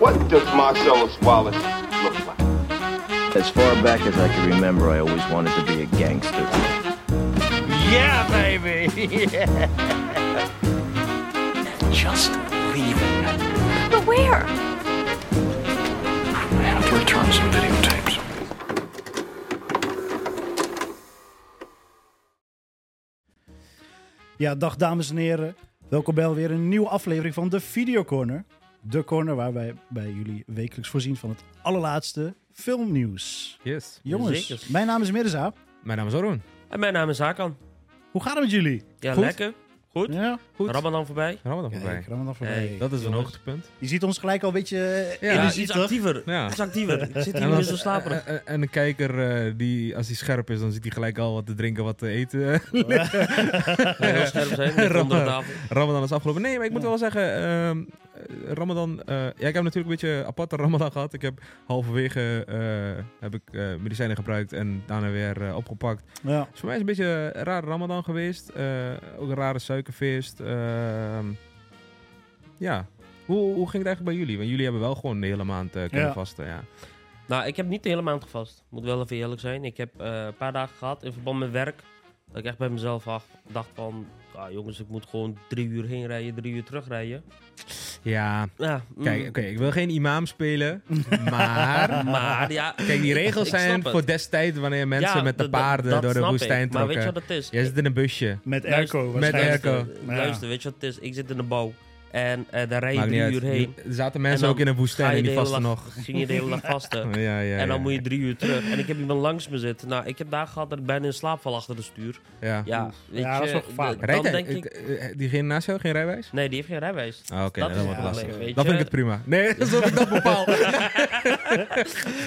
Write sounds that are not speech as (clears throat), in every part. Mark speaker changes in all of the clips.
Speaker 1: What does Marcellus Wallace look like?
Speaker 2: As far back as I can remember, I always wanted to be a gangster.
Speaker 3: Yeah, baby.
Speaker 4: Just leaving.
Speaker 5: But where?
Speaker 4: I have to return some videotapes.
Speaker 6: Ja, dag dames en heren. Welkom bij alweer een nieuwe aflevering van de Video Corner. De corner waar wij bij jullie wekelijks voorzien van het allerlaatste filmnieuws.
Speaker 7: Yes.
Speaker 6: Jongens,
Speaker 3: Jazeker.
Speaker 6: mijn naam is Mirza.
Speaker 7: Mijn naam is Arun.
Speaker 3: En mijn naam is Hakan.
Speaker 6: Hoe gaat het met jullie?
Speaker 3: Ja,
Speaker 6: Goed?
Speaker 3: lekker. Goed.
Speaker 6: Ja,
Speaker 7: Goed.
Speaker 3: Ramadan voorbij.
Speaker 7: Gaan we dan voorbij.
Speaker 6: Kijk, Ramadan voorbij.
Speaker 3: Hey,
Speaker 7: Dat is een
Speaker 3: jongens.
Speaker 7: hoogtepunt.
Speaker 6: Je ziet ons gelijk al een beetje eh,
Speaker 7: Ja,
Speaker 6: ja,
Speaker 3: Ja,
Speaker 6: energiek,
Speaker 3: iets
Speaker 6: toch?
Speaker 3: actiever.
Speaker 7: Ja.
Speaker 3: Iets actiever. Ik zit
Speaker 7: En
Speaker 3: hier
Speaker 7: als-
Speaker 3: weer zo slaperig.
Speaker 7: En, en een kijker, eh, die, als hij scherp is, dan ziet hij gelijk al wat te drinken, wat te eten. (laughs)
Speaker 3: Heel scherp zijn. ligt onder de tafel.
Speaker 7: Ramadan is afgelopen. Nee, maar ik moet wel zeggen, ehm, eh, Ramadan... eh, ja, ik heb natuurlijk een beetje een aparte (laughs) Ramadan gehad. Ik heb halverwege eh, heb ik, eh, medicijnen gebruikt en daarna weer eh, opgepakt.
Speaker 6: Ja.
Speaker 7: Dus voor mij is het een beetje een rare Ramadan geweest. Eh, ook een rare suikerfeest. Ehm, ja. Hoe, hoe ging het eigenlijk bij jullie? Want jullie hebben wel gewoon de hele maand eh kunnen
Speaker 6: Ja.
Speaker 7: vasten. Ja.
Speaker 3: Nou, ik heb niet de hele maand gevast. Moet wel even eerlijk zijn. Ik heb eh, een paar dagen gehad in verband met werk. Dat ik echt bij mezelf ach- dacht van... ah, jongens, ik moet gewoon drie uur heen rijden, drie uur terugrijden.
Speaker 7: ja.
Speaker 3: Ja, mm.
Speaker 7: Kijk, oké, ik wil geen imam spelen, maar...
Speaker 3: Maar ja...
Speaker 7: (laughs) Kijk, die regels
Speaker 3: (laughs) Ik snap
Speaker 7: zijn
Speaker 3: het.
Speaker 7: voor destijds wanneer mensen
Speaker 3: Ja,
Speaker 7: met de
Speaker 3: dat- dat-
Speaker 7: paarden
Speaker 3: dat
Speaker 7: door de
Speaker 3: snap ik.
Speaker 7: woestijn
Speaker 3: Maar weet
Speaker 7: trokken.
Speaker 3: je wat het is?
Speaker 7: Jij zit in een busje.
Speaker 6: Met
Speaker 3: Luister,
Speaker 6: airco
Speaker 7: met
Speaker 6: waarschijnlijk.
Speaker 7: airco.
Speaker 3: Luister,
Speaker 6: Ja.
Speaker 3: luister, weet je wat het is? Ik zit in de bouw. En eh, daar rij je
Speaker 7: Maakt
Speaker 3: drie
Speaker 7: niet uit.
Speaker 3: uur heen.
Speaker 7: Er zaten
Speaker 3: En
Speaker 7: mensen
Speaker 3: dan
Speaker 7: ook in een
Speaker 3: ga
Speaker 7: woestijn
Speaker 3: je
Speaker 7: en die
Speaker 3: de hele
Speaker 7: vasten
Speaker 3: dag- (laughs)
Speaker 7: nog. (laughs)
Speaker 3: Ging je de hele dag vasten.
Speaker 7: Ja, ja, ja.
Speaker 3: en dan moet je drie uur terug. En ik heb iemand langs me zitten. Nou, ik heb daar gehad dat ik bijna in slaap val achter de stuur.
Speaker 7: Ja.
Speaker 3: Ja,
Speaker 6: Oef.
Speaker 3: weet
Speaker 6: Ja,
Speaker 3: je,
Speaker 6: dat is wel gevaarlijk.
Speaker 3: de-
Speaker 7: Rijdt
Speaker 3: dan
Speaker 7: hij-
Speaker 3: denk ik...
Speaker 7: eh, eh, Diegene naast jou, geen rijwijs?
Speaker 3: Nee, die heeft geen
Speaker 7: (laughs)
Speaker 3: rijwijs.
Speaker 7: Ah, Oké,
Speaker 3: Dat
Speaker 7: dat
Speaker 3: is
Speaker 7: wordt
Speaker 6: het
Speaker 7: lastig.
Speaker 3: probleem, weet
Speaker 7: Dan
Speaker 3: je.
Speaker 7: vind ik het prima. Nee, (laughs) alsof ik dat bepaal.
Speaker 3: (laughs)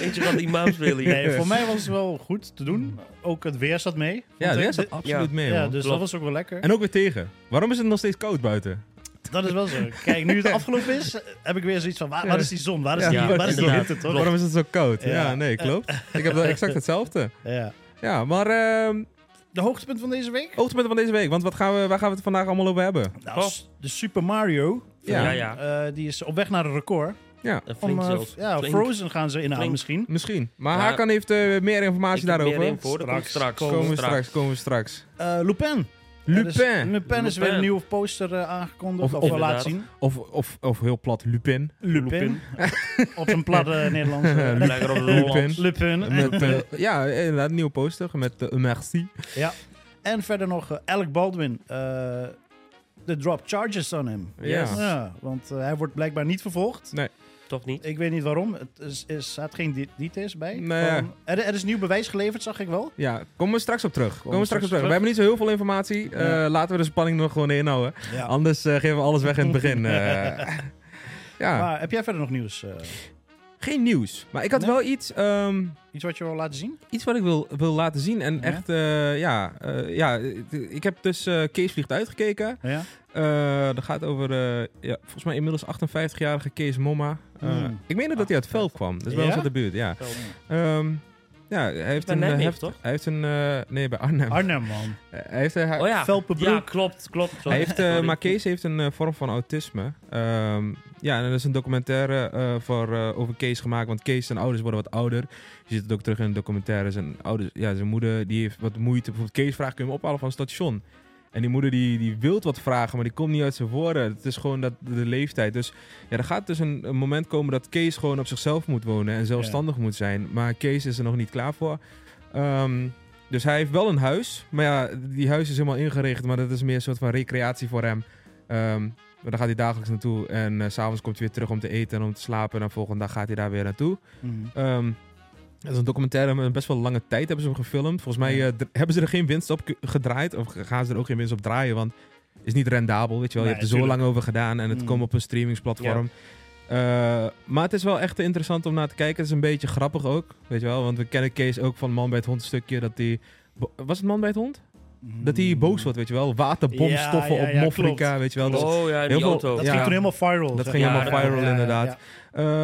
Speaker 3: Eentje van die imams wil
Speaker 7: (laughs)
Speaker 3: hier.
Speaker 6: Nee, voor mij was het wel goed te doen. Ook het weer zat mee.
Speaker 7: Ja,
Speaker 6: Want
Speaker 7: daar
Speaker 6: ik-
Speaker 7: zat absoluut mee,
Speaker 6: Ja,
Speaker 7: man.
Speaker 6: dus dat
Speaker 3: Klopt.
Speaker 6: was ook wel lekker.
Speaker 7: En ook weer tegen. Waarom is het nog steeds koud buiten?
Speaker 6: Dat is wel zo. Kijk, nu het afgelopen is, heb ik weer zoiets van... Waar, waar is die zon? Waar is
Speaker 7: Ja,
Speaker 6: die, waar is die
Speaker 3: inderdaad.
Speaker 6: hitte, toch?
Speaker 7: Waarom is het zo koud?
Speaker 6: Ja.
Speaker 7: Ja, nee, klopt. Ik heb wel exact hetzelfde.
Speaker 6: Ja.
Speaker 7: Ja, maar ehm
Speaker 6: De hoogtepunt van deze week?
Speaker 7: hoogtepunten van deze week. Want wat gaan we, waar gaan we het vandaag allemaal over hebben?
Speaker 6: Nou, s- de Super Mario.
Speaker 7: Ja.
Speaker 3: Ja, ja.
Speaker 6: eh, die is op weg naar een record.
Speaker 7: Ja,
Speaker 3: Een flink
Speaker 6: Om, eh,
Speaker 3: zelfs.
Speaker 6: f- ja,
Speaker 3: Flink.
Speaker 6: Frozen gaan ze inhalen
Speaker 3: Flink.
Speaker 6: misschien.
Speaker 7: misschien. Maar
Speaker 3: Ja.
Speaker 7: Hakan heeft eh, meer
Speaker 3: Ik
Speaker 7: informatie
Speaker 3: heb meer
Speaker 7: daarover.
Speaker 3: info, dat komt
Speaker 6: Straks. dus
Speaker 3: straks.
Speaker 7: Komen we
Speaker 3: Komt
Speaker 7: straks, komen we straks.
Speaker 6: Eh, Lupin. Er is-
Speaker 7: Lupin.
Speaker 6: Lupin is weer
Speaker 3: Lupin.
Speaker 6: een nieuwe poster eh, aangekondigd.
Speaker 7: Of-
Speaker 6: Of,
Speaker 7: of-
Speaker 6: we laten zien.
Speaker 3: inderdaad.
Speaker 7: Of, of, of heel plat, Lupin.
Speaker 6: Lupin. (laughs) op een platte Nederlandse. eh,
Speaker 3: Lekker op de
Speaker 7: Lupin.
Speaker 3: Hollands.
Speaker 6: Lupin.
Speaker 7: Met, eh, ja, inderdaad, een nieuwe poster met eh, een merci.
Speaker 6: En verder nog eh, Alec Baldwin. eh, De drop charges on hem.
Speaker 7: Ja.
Speaker 3: Yes.
Speaker 6: Ja, want eh, hij wordt blijkbaar niet vervolgd.
Speaker 3: Toch niet?
Speaker 6: Ik weet niet waarom. Het is, er staat geen de- details bij.
Speaker 7: Nee.
Speaker 6: Van- er, er is nieuw bewijs geleverd, zag ik wel.
Speaker 7: Ja, komen we straks op terug. Komen we straks
Speaker 6: straks
Speaker 7: op terug. We
Speaker 6: terug.
Speaker 7: hebben niet zo heel veel informatie. Eh,
Speaker 6: Ja.
Speaker 7: Laten we de spanning nog gewoon inhouden.
Speaker 6: Ja.
Speaker 7: Anders eh, geven we alles weg in het
Speaker 6: (laughs)
Speaker 7: begin. eh. ja,
Speaker 6: Maar heb jij verder nog nieuws? eh,
Speaker 7: geen nieuws. Maar ik had
Speaker 6: Nee?
Speaker 7: wel iets, ehm,
Speaker 6: iets wat je wil laten zien?
Speaker 7: iets wat ik wil, wil laten zien. En
Speaker 6: Ja?
Speaker 7: echt, eh, ja, eh, ja, eh, ik heb dus eh Kees Vliegt uitgekeken.
Speaker 6: Ja.
Speaker 7: Eh, dat gaat over, eh, ja, volgens mij inmiddels 58-jarige Kees Momma. Eh,
Speaker 6: Hmm.
Speaker 7: Ik meen dat hij uit Velp kwam. Dat is bij
Speaker 6: Ja?
Speaker 7: ons uit de buurt, ja. Ehm, ja, hij heeft
Speaker 3: Bij
Speaker 7: een... eh,
Speaker 3: Nijmegen,
Speaker 7: heft-
Speaker 3: toch?
Speaker 7: Hij heeft een... eh, nee, bij Arnhem.
Speaker 6: Arnhem, man.
Speaker 7: Eh, hij heeft, eh,
Speaker 3: Oh ja.
Speaker 6: Velpenbroek.
Speaker 3: Ja, klopt, klopt.
Speaker 7: Hij
Speaker 3: Sorry.
Speaker 7: heeft, eh,
Speaker 3: Sorry.
Speaker 7: maar Kees heeft een eh, vorm van autisme. Ehm, ja, en er is een documentaire eh, voor, eh, over Kees gemaakt. Want Kees, zijn ouders worden wat ouder. Je ziet het ook terug in de documentaire. Zijn, ouders, ja, zijn moeder die heeft wat moeite. Bijvoorbeeld Kees vraagt, kun je hem ophalen van het station? En die moeder die, die wil wat vragen, maar die komt niet uit zijn woorden. Het is gewoon dat, de leeftijd. Dus ja, er gaat dus een, een moment komen dat Kees gewoon op zichzelf moet wonen. En zelfstandig moet zijn. Maar Kees is er nog niet klaar voor. Ehm, dus hij heeft wel een huis. Maar ja, die huis is helemaal ingericht. Maar dat is meer een soort van recreatie voor hem. Ehm, maar daar gaat hij dagelijks naartoe. En eh, s s'avonds komt hij weer terug om te eten en om te slapen. En dan volgende dag gaat hij daar weer naartoe.
Speaker 6: Mhm.
Speaker 3: Oh.
Speaker 7: Ehm dat is een documentaire met een best wel lange tijd hebben ze hem gefilmd. Volgens mij
Speaker 6: Ja.
Speaker 7: eh, dr- hebben ze er geen winst op ge- gedraaid. Of gaan ze er ook geen winst op draaien. Want het is niet rendabel, weet je wel.
Speaker 6: Nee,
Speaker 7: je hebt er zo
Speaker 6: tuurlijk.
Speaker 7: lang over gedaan. En het
Speaker 6: Mm.
Speaker 7: komt op een streamingsplatform. Eh, maar het is wel echt interessant om naar te kijken. Het is een beetje grappig ook, weet je wel. Want we kennen Kees ook van Man bij het Hond stukje. Dat die... bo- Was het Man bij het Hond? Dat hij boos wordt, weet je wel. Waterbomstoffen
Speaker 6: Mm. Ja, ja, ja,
Speaker 7: op Mofrika, weet je wel. Dus
Speaker 3: Oh ja,
Speaker 7: heel
Speaker 3: die
Speaker 7: veel-
Speaker 3: auto.
Speaker 6: Dat
Speaker 7: Ja.
Speaker 6: ging toen helemaal viral.
Speaker 7: Dat
Speaker 6: zeg
Speaker 7: ging
Speaker 6: maar.
Speaker 3: helemaal
Speaker 6: Ja,
Speaker 7: viral,
Speaker 6: ja, ja,
Speaker 7: inderdaad.
Speaker 6: ja.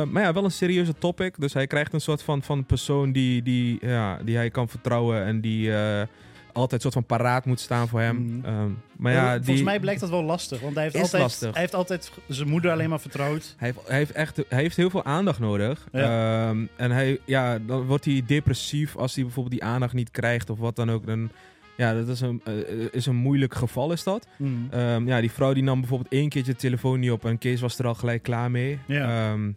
Speaker 7: Eh, maar ja, wel een serieuze topic. Dus hij krijgt een soort van, van persoon die, die, ja, die hij kan vertrouwen en die, eh, altijd een soort van paraat moet staan voor hem.
Speaker 6: Mhm.
Speaker 7: Ehm, maar ja,
Speaker 6: Volgens
Speaker 7: die,
Speaker 6: mij blijkt dat wel lastig, want hij heeft,
Speaker 7: Is
Speaker 6: altijd,
Speaker 7: lastig.
Speaker 6: hij heeft altijd zijn moeder alleen maar vertrouwd.
Speaker 7: Hij heeft, hij, heeft echt, hij heeft heel veel aandacht nodig.
Speaker 6: Ja.
Speaker 7: Ehm, en hij, ja, dan wordt hij depressief als hij bijvoorbeeld die aandacht niet krijgt of wat dan ook. Dan, ja, dat is een, eh, is een moeilijk geval, is dat.
Speaker 6: Mm.
Speaker 7: Ehm, ja, die vrouw die nam bijvoorbeeld één keertje de telefoon niet op en Kees was er al gelijk klaar mee.
Speaker 6: Ja.
Speaker 7: Ehm,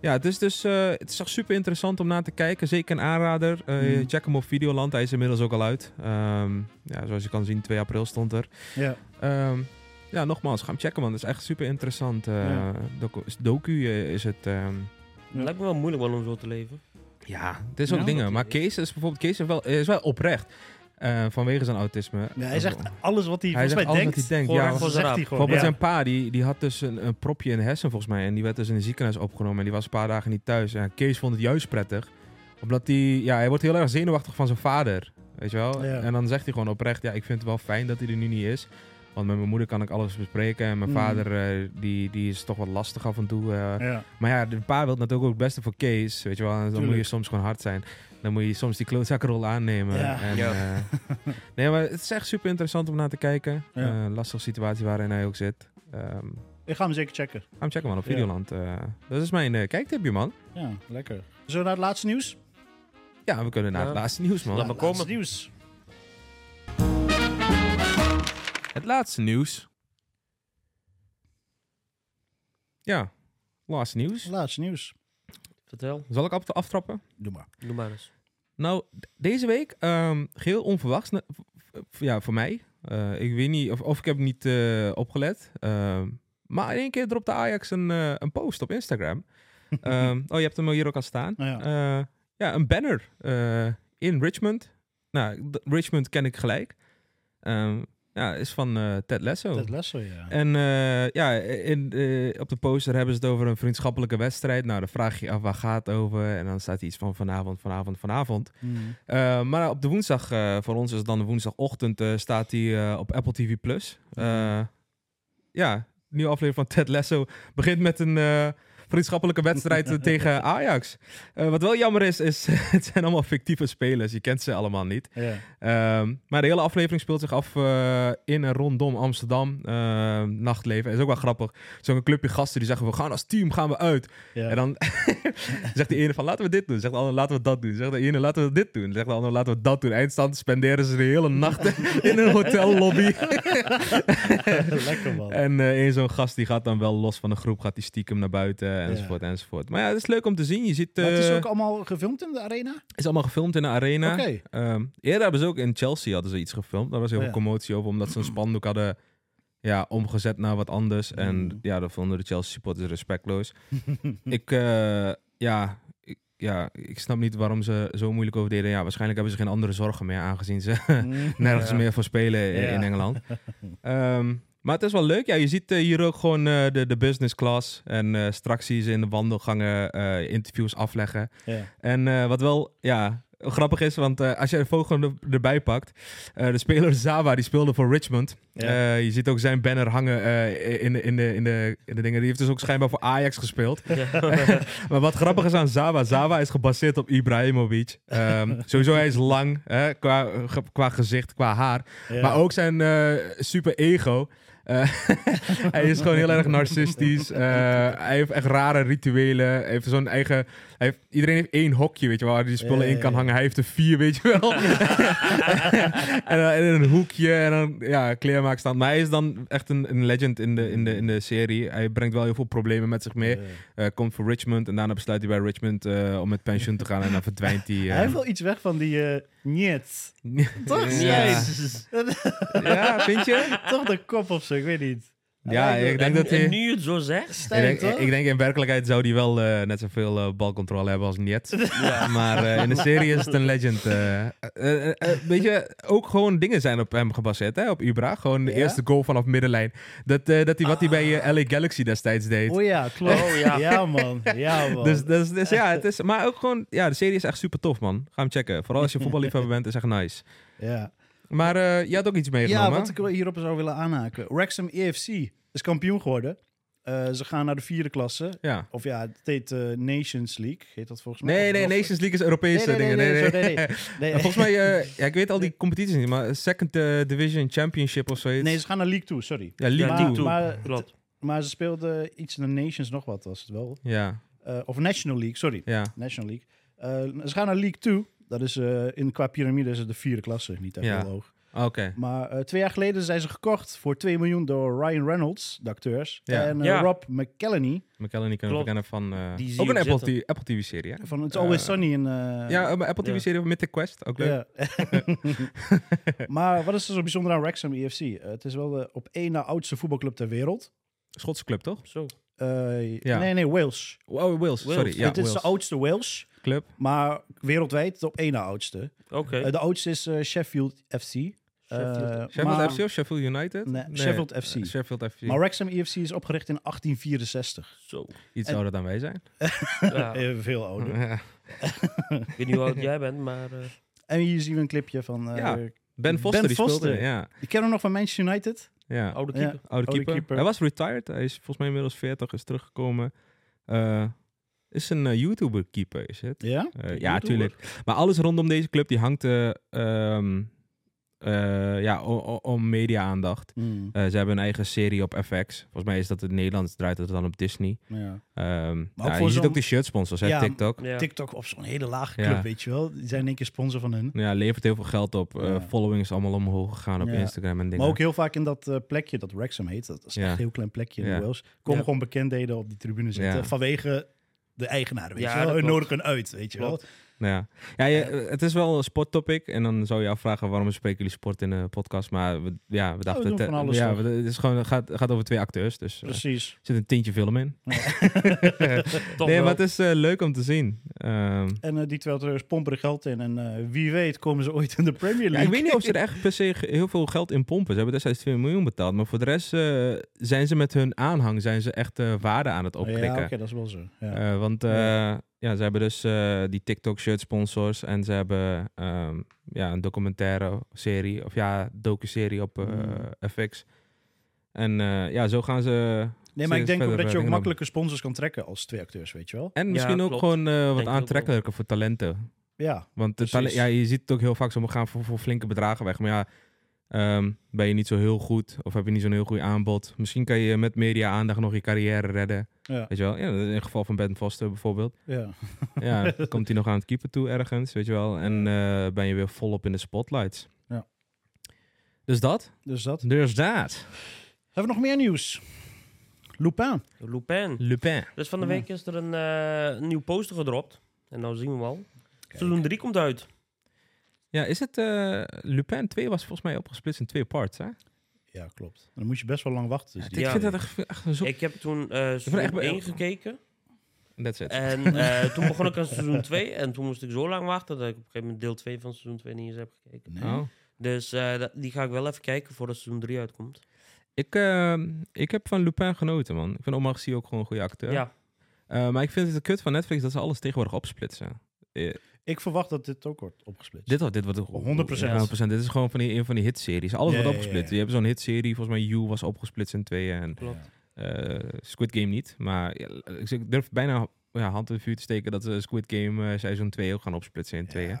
Speaker 7: ja, het is dus eh, het is echt super interessant om naar te kijken. Zeker een aanrader. Eh,
Speaker 6: Mhm.
Speaker 7: Check hem op Videoland. Hij is inmiddels ook al uit. Ehm, ja, zoals je kan zien, 2 april stond er.
Speaker 6: Ja.
Speaker 7: Ehm, ja, nogmaals, ga hem checken, man. Dat is echt super interessant. eh,
Speaker 6: Ja.
Speaker 7: docu, is- docu eh, is het. ehm,
Speaker 6: Ja.
Speaker 3: Lijkt me wel moeilijk man om zo te leven.
Speaker 7: ja, het is ook
Speaker 6: Ja,
Speaker 7: dingen.
Speaker 3: dat
Speaker 7: Maar
Speaker 3: is-
Speaker 7: Kees is bijvoorbeeld Kees is wel, is wel oprecht. eh, vanwege zijn autisme.
Speaker 6: Ja, hij zegt alles wat hij,
Speaker 7: Hij
Speaker 6: volgens
Speaker 7: zegt
Speaker 6: mij
Speaker 7: alles
Speaker 6: denkt.
Speaker 7: wat hij denkt.
Speaker 3: Gewoon
Speaker 7: Ja,
Speaker 3: recht
Speaker 7: want-
Speaker 3: voor
Speaker 6: zegt hij gewoon.
Speaker 7: bijvoorbeeld
Speaker 6: ja.
Speaker 7: zijn pa, die, die had dus een, een propje in de hersen volgens mij. En die werd dus in het ziekenhuis opgenomen. En die was een paar dagen niet thuis. En Kees vond het juist prettig. Omdat hij... Ja, hij wordt heel erg zenuwachtig van zijn vader. Weet je wel?
Speaker 6: Ja.
Speaker 7: En dan zegt hij gewoon oprecht... Ja, ik vind het wel fijn dat hij er nu niet is. Want met mijn moeder kan ik alles bespreken. En mijn
Speaker 6: Mm.
Speaker 7: vader, eh, die, die is toch wat lastig af en toe. eh.
Speaker 6: Ja.
Speaker 7: Maar ja, de pa wil natuurlijk ook het beste voor Kees. Weet je wel? En dan moet je
Speaker 6: Tuurlijk.
Speaker 7: soms gewoon hard zijn. Dan moet je soms die klootzakkerrol aannemen.
Speaker 6: Ja.
Speaker 7: En,
Speaker 3: Ja.
Speaker 7: eh, nee, maar het is echt super interessant om naar te kijken.
Speaker 6: Ja.
Speaker 7: Eh, Een lastige situatie waarin hij ook zit. Ehm
Speaker 6: Ik ga hem zeker checken.
Speaker 7: ga hem checken man op
Speaker 6: Ja.
Speaker 7: Videoland. Eh, dat is mijn eh, kijktipje man.
Speaker 6: Ja, lekker. Zo naar het laatste nieuws?
Speaker 7: Ja, we kunnen naar
Speaker 3: Ja.
Speaker 7: het laatste nieuws man.
Speaker 3: Laat maar komen.
Speaker 6: Laatste nieuws.
Speaker 7: Het laatste nieuws. Ja, laatste nieuws.
Speaker 6: Laatste nieuws.
Speaker 3: Vertel,
Speaker 7: Zal ik af- aftrappen?
Speaker 6: Doe maar.
Speaker 3: doe maar eens.
Speaker 7: Nou, d- deze week, ehm geheel onverwachts, ne- v- v- ja, voor mij. Eh, ik weet niet, of, of ik heb niet eh, opgelet. Ehm, maar in één keer dropte Ajax een, eh, een post op Instagram. (laughs) Ehm, oh, je hebt hem hier ook al staan.
Speaker 6: Oh ja.
Speaker 7: Eh, ja, een banner eh, in Richmond. Nou, d- Richmond ken ik gelijk. Ehm, ja, is van eh, Ted Lasso.
Speaker 3: Oh.
Speaker 6: Dat lessen, ja.
Speaker 7: En eh, ja, in, eh, op de poster hebben ze het over een vriendschappelijke wedstrijd. Nou, dan vraag je je af waar gaat het over. En dan staat iets van vanavond, vanavond, vanavond.
Speaker 6: Mm.
Speaker 7: Eh, maar op de woensdag, eh, voor ons is het dan de woensdagochtend, eh, staat hij eh, op Apple TV+. Plus. Eh, ja, nieuwe aflevering van Ted Lasso begint met een eh, vriendschappelijke wedstrijd eh, tegen Ajax. Eh, wat wel jammer is, (laughs) is het zijn allemaal fictieve spelers. Je kent ze allemaal niet.
Speaker 6: Ja.
Speaker 7: Ehm, maar de hele aflevering speelt zich af eh, in en rondom Amsterdam. Ehm, nachtleven. Is ook wel grappig. Zo'n clubje gasten die zeggen, we gaan als team, gaan we uit.
Speaker 6: Ja.
Speaker 7: En dan (laughs) zegt de ene van laten we dit doen. Zegt de ander laten we dat doen. Zegt de ene laten we dit doen. Zegt de ander laten we dat doen. Eindstand spenderen ze de hele nacht (laughs) in een hotellobby.
Speaker 6: (laughs) lekker man.
Speaker 7: (laughs) en eh één zo'n gast die gaat dan wel los van de groep. Gaat die stiekem naar buiten enzovoort enzovoort. Maar ja, het is leuk om te zien. Je ziet, eh,
Speaker 6: Maar het
Speaker 7: het
Speaker 6: is ook allemaal gefilmd in de arena?
Speaker 7: allemaal gefilmd in de arena.
Speaker 6: Oké.
Speaker 7: Ehm, eerder hebben ze ook in Chelsea hadden ze iets gefilmd. Daar was heel
Speaker 6: Oh,
Speaker 7: veel
Speaker 6: ja.
Speaker 7: commotie over. Omdat ze een spandoek hadden ja, omgezet naar wat anders.
Speaker 6: Mm.
Speaker 7: En ja, dat vonden de Chelsea supporters
Speaker 6: (laughs)
Speaker 7: respectloos. ik, eh, ja, ik, ja, ik snap niet waarom ze zo moeilijk over deden. Ja, waarschijnlijk hebben ze geen andere zorgen meer. Aangezien ze (laughs) nergens meer voor spelen i-
Speaker 6: Mm, Ja.
Speaker 7: in
Speaker 6: (laughs)
Speaker 7: Engeland. Ehm, maar het is wel leuk. Ja, je ziet eh, hier ook gewoon eh, de, de business class. En eh, straks zie je ze in de wandelgangen eh, interviews afleggen.
Speaker 6: Ja.
Speaker 7: En eh, wat wel, ja, grappig is, want eh, als je de vogel er- erbij pakt, eh, de speler Zawa, die speelde voor Richmond.
Speaker 6: Ja.
Speaker 7: Eh, je ziet ook zijn banner hangen eh, in, de- in, de, in, de, in de dingen. Die heeft dus ook schijnbaar voor Ajax gespeeld. (laughs) maar wat grappig is aan Zawa, Zawa is gebaseerd op
Speaker 6: (laughs)
Speaker 7: Ibrahimovic. Ehm, sowieso, hij is lang hè, qua, ge- qua gezicht, qua haar.
Speaker 6: Ja.
Speaker 7: Maar ook zijn eh, super ego. hij is gewoon heel erg narcistisch. Eh, hij heeft echt rare rituelen. Hij heeft zo'n eigen. Hij heeft, iedereen heeft één hokje, weet je wel, waar hij die spullen
Speaker 6: Ja, ja,
Speaker 7: in kan
Speaker 6: ja.
Speaker 7: hangen. Hij heeft er vier, weet je
Speaker 6: (laughs)
Speaker 7: wel. en dan in een hoekje en dan ja, kleermaakstand. Maar hij is dan echt een, een legend in de, in, de, in de serie. Hij brengt wel heel veel problemen met zich mee. Eh, komt voor Richmond en daarna besluit hij bij Richmond eh, om met pensioen te gaan. En dan verdwijnt hij. eh.
Speaker 6: Hij heeft wel iets weg van die eh
Speaker 7: (laughs)
Speaker 6: niet. Toch?
Speaker 7: Ja. ja, vind je?
Speaker 6: (laughs) Toch de kop of zo, ik weet niet.
Speaker 7: Ja,
Speaker 6: lijkt me-
Speaker 7: ik denk
Speaker 3: en,
Speaker 7: dat hij...
Speaker 3: en nu je het zo zegt,
Speaker 7: Ik
Speaker 6: Stijn,
Speaker 7: denk,
Speaker 6: toch?
Speaker 7: ik, ik denk in werkelijkheid zou die wel eh, net zoveel eh, balcontrole hebben als
Speaker 6: (laughs)
Speaker 7: Niet. Maar eh, in de serie is het een legend. eh. Eh, eh, eh, weet je, ook gewoon dingen zijn op hem gebaseerd, hè, op Ibra. Gewoon de
Speaker 6: Ja?
Speaker 7: eerste goal vanaf middenlijn. Dat, eh, dat hij wat hij bij eh, LA Galaxy destijds deed.
Speaker 6: Oh ja, klopt.
Speaker 3: Oh
Speaker 6: ja.
Speaker 3: ja.
Speaker 6: man.
Speaker 7: (laughs)
Speaker 6: Ja, man.
Speaker 7: dus, dus, dus ja,
Speaker 6: (laughs)
Speaker 7: het is, maar ook gewoon, ja, de serie is echt super tof, man. Ga hem checken. Vooral als je voetballiefhebber bent, is echt nice.
Speaker 6: ja.
Speaker 7: Maar eh, je had ook iets
Speaker 6: ja,
Speaker 7: meegenomen.
Speaker 6: wat ik hierop zou willen aanhaken. Wrexham EFC is kampioen geworden. Eh, Eh, ze gaan naar de vierde klasse.
Speaker 7: Ja.
Speaker 6: Of ja, het heet eh, Nations League. Heet dat volgens mij?
Speaker 7: Nee,
Speaker 6: Of
Speaker 7: nee,
Speaker 6: nog-
Speaker 7: Nations League is
Speaker 6: Nee,
Speaker 7: Europese
Speaker 6: nee, nee,
Speaker 7: dingen. Nee,
Speaker 6: nee,
Speaker 7: nee,
Speaker 6: sorry, nee, nee. Nee.
Speaker 7: Maar volgens mij, eh, ja, ik weet al die competities niet, maar Second eh, Division Championship of zoiets.
Speaker 6: Nee, ze gaan naar League 2, sorry.
Speaker 7: ja, League
Speaker 6: maar,
Speaker 7: 2.
Speaker 3: League Two.
Speaker 6: Maar,
Speaker 3: Klopt.
Speaker 6: maar ze speelden iets in de Nations nog wat, was het wel.
Speaker 7: Ja,
Speaker 6: Eh, of National League, sorry.
Speaker 7: ja.
Speaker 6: National League. Eh, ze gaan naar League 2. Dat is eh, in, qua piramide is het de vierde klasse, niet echt
Speaker 7: Ja.
Speaker 6: heel hoog.
Speaker 7: Ah, Oké.
Speaker 6: Maar eh, twee jaar geleden zijn ze gekocht voor 2 miljoen door Ryan Reynolds, de acteurs.
Speaker 7: Ja.
Speaker 6: En eh,
Speaker 3: Ja.
Speaker 6: Rob McElhenney
Speaker 7: McKellen kunnen
Speaker 3: Klopt.
Speaker 7: we kennen van... eh,
Speaker 3: Die zie
Speaker 7: ook
Speaker 3: ik
Speaker 7: een Apple,
Speaker 3: zitten.
Speaker 7: T- Apple TV-serie, hè?
Speaker 6: van It's Always
Speaker 7: Eh,
Speaker 6: Sunny. In, eh, (laughs)
Speaker 7: ja, een Apple
Speaker 3: ja.
Speaker 7: TV-serie van Mythic Quest. Ook leuk.
Speaker 6: ja. maar wat is er zo bijzonder aan Wrexham EFC? Eh, het is wel de op één na oudste voetbalclub ter wereld.
Speaker 7: Schotse club, toch?
Speaker 3: Zo.
Speaker 6: Eh,
Speaker 7: Ja.
Speaker 6: Nee, nee, Wales.
Speaker 7: Oh, Wales, sorry. Ja,
Speaker 6: het is
Speaker 7: Wales.
Speaker 6: de oudste Wales,
Speaker 7: club.
Speaker 6: maar wereldwijd de op één na oudste.
Speaker 3: Oké.
Speaker 6: Eh, de oudste is eh, Sheffield FC.
Speaker 3: Sheffield.
Speaker 6: Eh,
Speaker 7: Sheffield
Speaker 6: maar-
Speaker 7: FC of Sheffield United?
Speaker 6: Nee, Sheffield FC.
Speaker 7: eh, Sheffield FC.
Speaker 6: Maar Wrexham EFC is opgericht in 1864.
Speaker 3: Zo.
Speaker 7: Iets
Speaker 6: en-
Speaker 7: ouder dan wij zijn. (laughs)
Speaker 3: Ja, ik
Speaker 6: Eh, veel ouder.
Speaker 7: Mhm.
Speaker 3: weet niet hoe oud jij bent, maar... eh,
Speaker 6: En hier zien we een clipje van... eh,
Speaker 7: Ja. ben Foster, die speelde.
Speaker 6: Foster.
Speaker 7: Ja,
Speaker 6: Ik ken hem nog van Manchester United.
Speaker 7: ja.
Speaker 3: oude
Speaker 6: Ja.
Speaker 3: keeper.
Speaker 7: Oude
Speaker 6: Oude
Speaker 7: keeper.
Speaker 6: keeper.
Speaker 7: Hij was retired. Hij is volgens mij inmiddels 40, is teruggekomen. Eh, is een eh, YouTuber-keeper, is het?
Speaker 6: Ja?
Speaker 7: Eh, ja, tuurlijk. Maar alles rondom deze club, die hangt eh, ehm, eh, ja, o- o- om media-aandacht.
Speaker 6: Hmm,
Speaker 7: Eh, ze hebben een eigen serie op FX. Volgens mij is dat in het Nederlands, draait het dan op Disney.
Speaker 6: nou ja.
Speaker 7: Ehm
Speaker 6: Maar ook
Speaker 7: ja,
Speaker 6: voor
Speaker 7: je ziet
Speaker 6: zo'n-
Speaker 7: ook de shirtsponsors, hè,
Speaker 6: Ja,
Speaker 7: TikTok.
Speaker 3: Ja.
Speaker 6: TikTok of zo'n hele lage
Speaker 7: Ja.
Speaker 6: club, weet je wel. Die zijn in één keer sponsor van hun.
Speaker 7: Ja, levert heel veel geld op. Eh,
Speaker 6: Ja.
Speaker 7: Following is allemaal omhoog gegaan op
Speaker 6: Ja.
Speaker 7: Instagram en dingen.
Speaker 6: Maar ook heel vaak in dat eh, plekje dat Wrexham heet. Dat is
Speaker 7: Ja.
Speaker 6: echt een heel klein plekje in
Speaker 7: Ja.
Speaker 6: Wales. Komen
Speaker 3: Ja.
Speaker 6: gewoon bekendheden op die tribune zitten.
Speaker 7: Ja.
Speaker 6: Vanwege de eigenaar, weet
Speaker 3: Ja,
Speaker 6: je wel.
Speaker 3: dat
Speaker 6: Hun
Speaker 3: klopt.
Speaker 6: nodig hun uit, weet je wel.
Speaker 7: Ja, ja je- het is wel een sporttopic. En dan zou je afvragen waarom spreken jullie sport in een podcast. Maar we, ja, we dachten...
Speaker 6: doen
Speaker 7: te-
Speaker 6: van alles,
Speaker 7: ja,
Speaker 6: toch?
Speaker 7: we- het is gewoon, het gaat, het gaat over twee acteurs. Dus eh,
Speaker 6: Precies.
Speaker 7: er zit een tintje film in.
Speaker 3: (laughs) Toch
Speaker 7: nee,
Speaker 3: wel.
Speaker 7: maar het is eh, leuk om te zien. Ehm,
Speaker 6: En eh, die twee acteurs pompen er geld in. En eh, wie weet komen ze ooit in de Premier
Speaker 7: ja,
Speaker 6: League.
Speaker 7: ik weet niet of ze er echt per se ge- heel veel geld in pompen. Ze hebben destijds 2 miljoen betaald. Maar voor de rest eh, zijn ze met hun aanhang zijn ze echt eh, waarde aan het opkrikken.
Speaker 6: Oh Ja, oké, dat is wel zo. Ja.
Speaker 7: Eh, want eh, ja. ze hebben dus eh, die TikTok-shirt sponsors en ze hebben ehm, ja, een documentaire serie, of ja, docu-serie op eh,
Speaker 6: Mm.
Speaker 7: FX. En eh, ja, zo gaan ze.
Speaker 6: Nee, maar ik
Speaker 7: Steeds
Speaker 6: denk ook
Speaker 7: verder,
Speaker 6: dat
Speaker 7: eh,
Speaker 6: je ook
Speaker 7: dingen
Speaker 6: makkelijker sponsors kan trekken als twee acteurs, weet je wel.
Speaker 7: En
Speaker 3: Ja,
Speaker 7: misschien ook
Speaker 3: klopt.
Speaker 7: gewoon eh,
Speaker 3: ook
Speaker 7: wat
Speaker 3: wel.
Speaker 7: aantrekkelijker voor talenten.
Speaker 6: Ja,
Speaker 7: Want de
Speaker 6: Precies.
Speaker 7: tale- ja, je ziet het ook heel vaak, ze gaan voor, voor flinke bedragen weg. Maar ja, ehm, ben je niet zo heel goed of heb je niet zo'n heel goed aanbod? Misschien kan je met media-aandacht nog je carrière redden.
Speaker 6: ja,
Speaker 7: Weet je wel? Ja, in het geval van Ben Foster bijvoorbeeld.
Speaker 6: ja. (laughs)
Speaker 7: Ja, komt hij nog aan het keeper toe ergens, weet je wel. En eh, ben je weer volop in de spotlights.
Speaker 6: Ja.
Speaker 7: Dus dat?
Speaker 6: Dus
Speaker 7: (laughs)
Speaker 6: dat.
Speaker 7: Dus dat.
Speaker 6: Hebben we nog meer nieuws? Lupin.
Speaker 3: Lupin.
Speaker 7: Lupin.
Speaker 3: Dus van de week is er een eh, nieuw poster gedropt. En nou zien we hem al. Seizoen 3 komt uit.
Speaker 7: Ja, is het... eh, Lupin 2 was volgens mij opgesplitst in twee parts, hè?
Speaker 6: Ja, klopt. Dan moet je best wel lang wachten. Dus die-
Speaker 7: ik
Speaker 3: Ja.
Speaker 7: vind dat echt, echt een zo...
Speaker 3: Ik heb toen eh
Speaker 7: vond echt
Speaker 3: seizoen
Speaker 7: wel-
Speaker 3: 1
Speaker 7: (laughs)
Speaker 3: gekeken.
Speaker 7: That's it.
Speaker 3: En eh, toen begon ik aan seizoen 2. En toen moest ik zo lang wachten dat ik op een gegeven moment deel 2 van seizoen 2 niet eens heb gekeken.
Speaker 6: Nee.
Speaker 7: Oh.
Speaker 3: Dus eh, dat- die ga ik wel even kijken voordat seizoen 3 uitkomt.
Speaker 7: Ik, eh, ik heb van Lupin genoten, man. Ik vind Omar Sy ook gewoon een goede acteur.
Speaker 3: Ja,
Speaker 7: Eh, maar ik vind het de kut van Netflix dat ze alles tegenwoordig opsplitsen. Eh,
Speaker 6: Ik verwacht dat dit ook wordt opgesplitst.
Speaker 7: Dit, wordt- dit wordt
Speaker 6: 100%.
Speaker 7: 100%. Dit is gewoon van die, een van die hitseries. Alles
Speaker 6: Ja, ja, ja,
Speaker 7: wordt opgesplitst.
Speaker 6: ja.
Speaker 7: Je hebt zo'n hitserie, volgens mij You was opgesplitst in tweeën. En
Speaker 3: klopt.
Speaker 7: eh, Squid Game niet. Maar ja, ik zeg- ik durf bijna ja, hand in het vuur te steken dat ze Squid Game eh, seizoen 2 ook gaan opsplitsen in tweeën.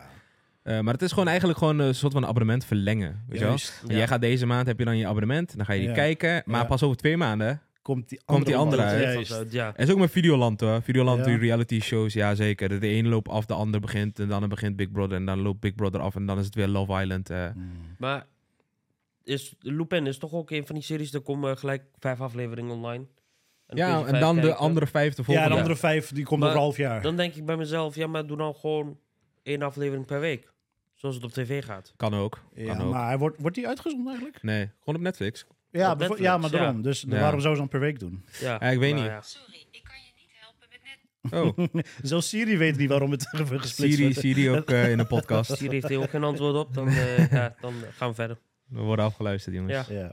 Speaker 7: Eh, maar het is gewoon eigenlijk gewoon een soort van abonnement verlengen. Weet je wel?
Speaker 6: Juist.
Speaker 3: Ja.
Speaker 7: Jij gaat deze maand, heb je dan je abonnement, dan ga je die
Speaker 6: Ja.
Speaker 7: kijken. Maar
Speaker 6: Ja.
Speaker 7: pas over twee maanden.
Speaker 6: Komt die
Speaker 7: Komt
Speaker 6: andere,
Speaker 7: die andere
Speaker 6: wel
Speaker 7: uit?
Speaker 3: Ja,
Speaker 6: Juist.
Speaker 3: uit, ja.
Speaker 7: En is ook met Videoland hoor. Videoland,
Speaker 6: Ja.
Speaker 7: die reality shows, ja zeker. De ene loopt af, de ander begint. En dan begint Big Brother. En dan loopt Big Brother af. En dan is het weer Love Island. eh.
Speaker 3: Maar is, Lupin is toch ook een van die series, er komen gelijk vijf afleveringen online. dan kun je
Speaker 7: Ja,
Speaker 3: ze
Speaker 7: en
Speaker 3: vijf
Speaker 7: dan de
Speaker 3: kijken.
Speaker 7: andere vijf de
Speaker 6: Ja,
Speaker 7: volgende.
Speaker 6: de
Speaker 7: Ja,
Speaker 6: andere vijf, die komt
Speaker 3: Maar
Speaker 6: over een half jaar.
Speaker 3: Dan denk ik bij mezelf, ja, maar doe nou gewoon één aflevering per week. Zoals het op tv gaat.
Speaker 7: Kan ook.
Speaker 6: Ja,
Speaker 7: kan ook.
Speaker 6: maar wordt, wordt die uitgezonden eigenlijk?
Speaker 7: Nee, gewoon op Netflix.
Speaker 6: Ja, bevo-
Speaker 3: Op Netflix,
Speaker 6: ja maar
Speaker 3: ja.
Speaker 6: daarom. Dus
Speaker 7: Ja.
Speaker 6: waarom zou ze dan per week doen?
Speaker 3: Ja, Nou
Speaker 7: Ja, ik weet
Speaker 3: maar
Speaker 7: niet.
Speaker 3: ja.
Speaker 5: Sorry, ik kan je niet helpen met net.
Speaker 7: (laughs) Oh,
Speaker 6: Zelfs Siri weet niet waarom het (laughs) gesplitst
Speaker 7: Siri,
Speaker 6: wordt.
Speaker 7: Siri (laughs) ook eh, in de podcast.
Speaker 3: Siri heeft hier ook geen antwoord op,
Speaker 7: (laughs)
Speaker 3: dan, eh, ja, dan gaan we verder.
Speaker 7: We worden afgeluisterd, jongens.
Speaker 3: Ja.
Speaker 6: Ja.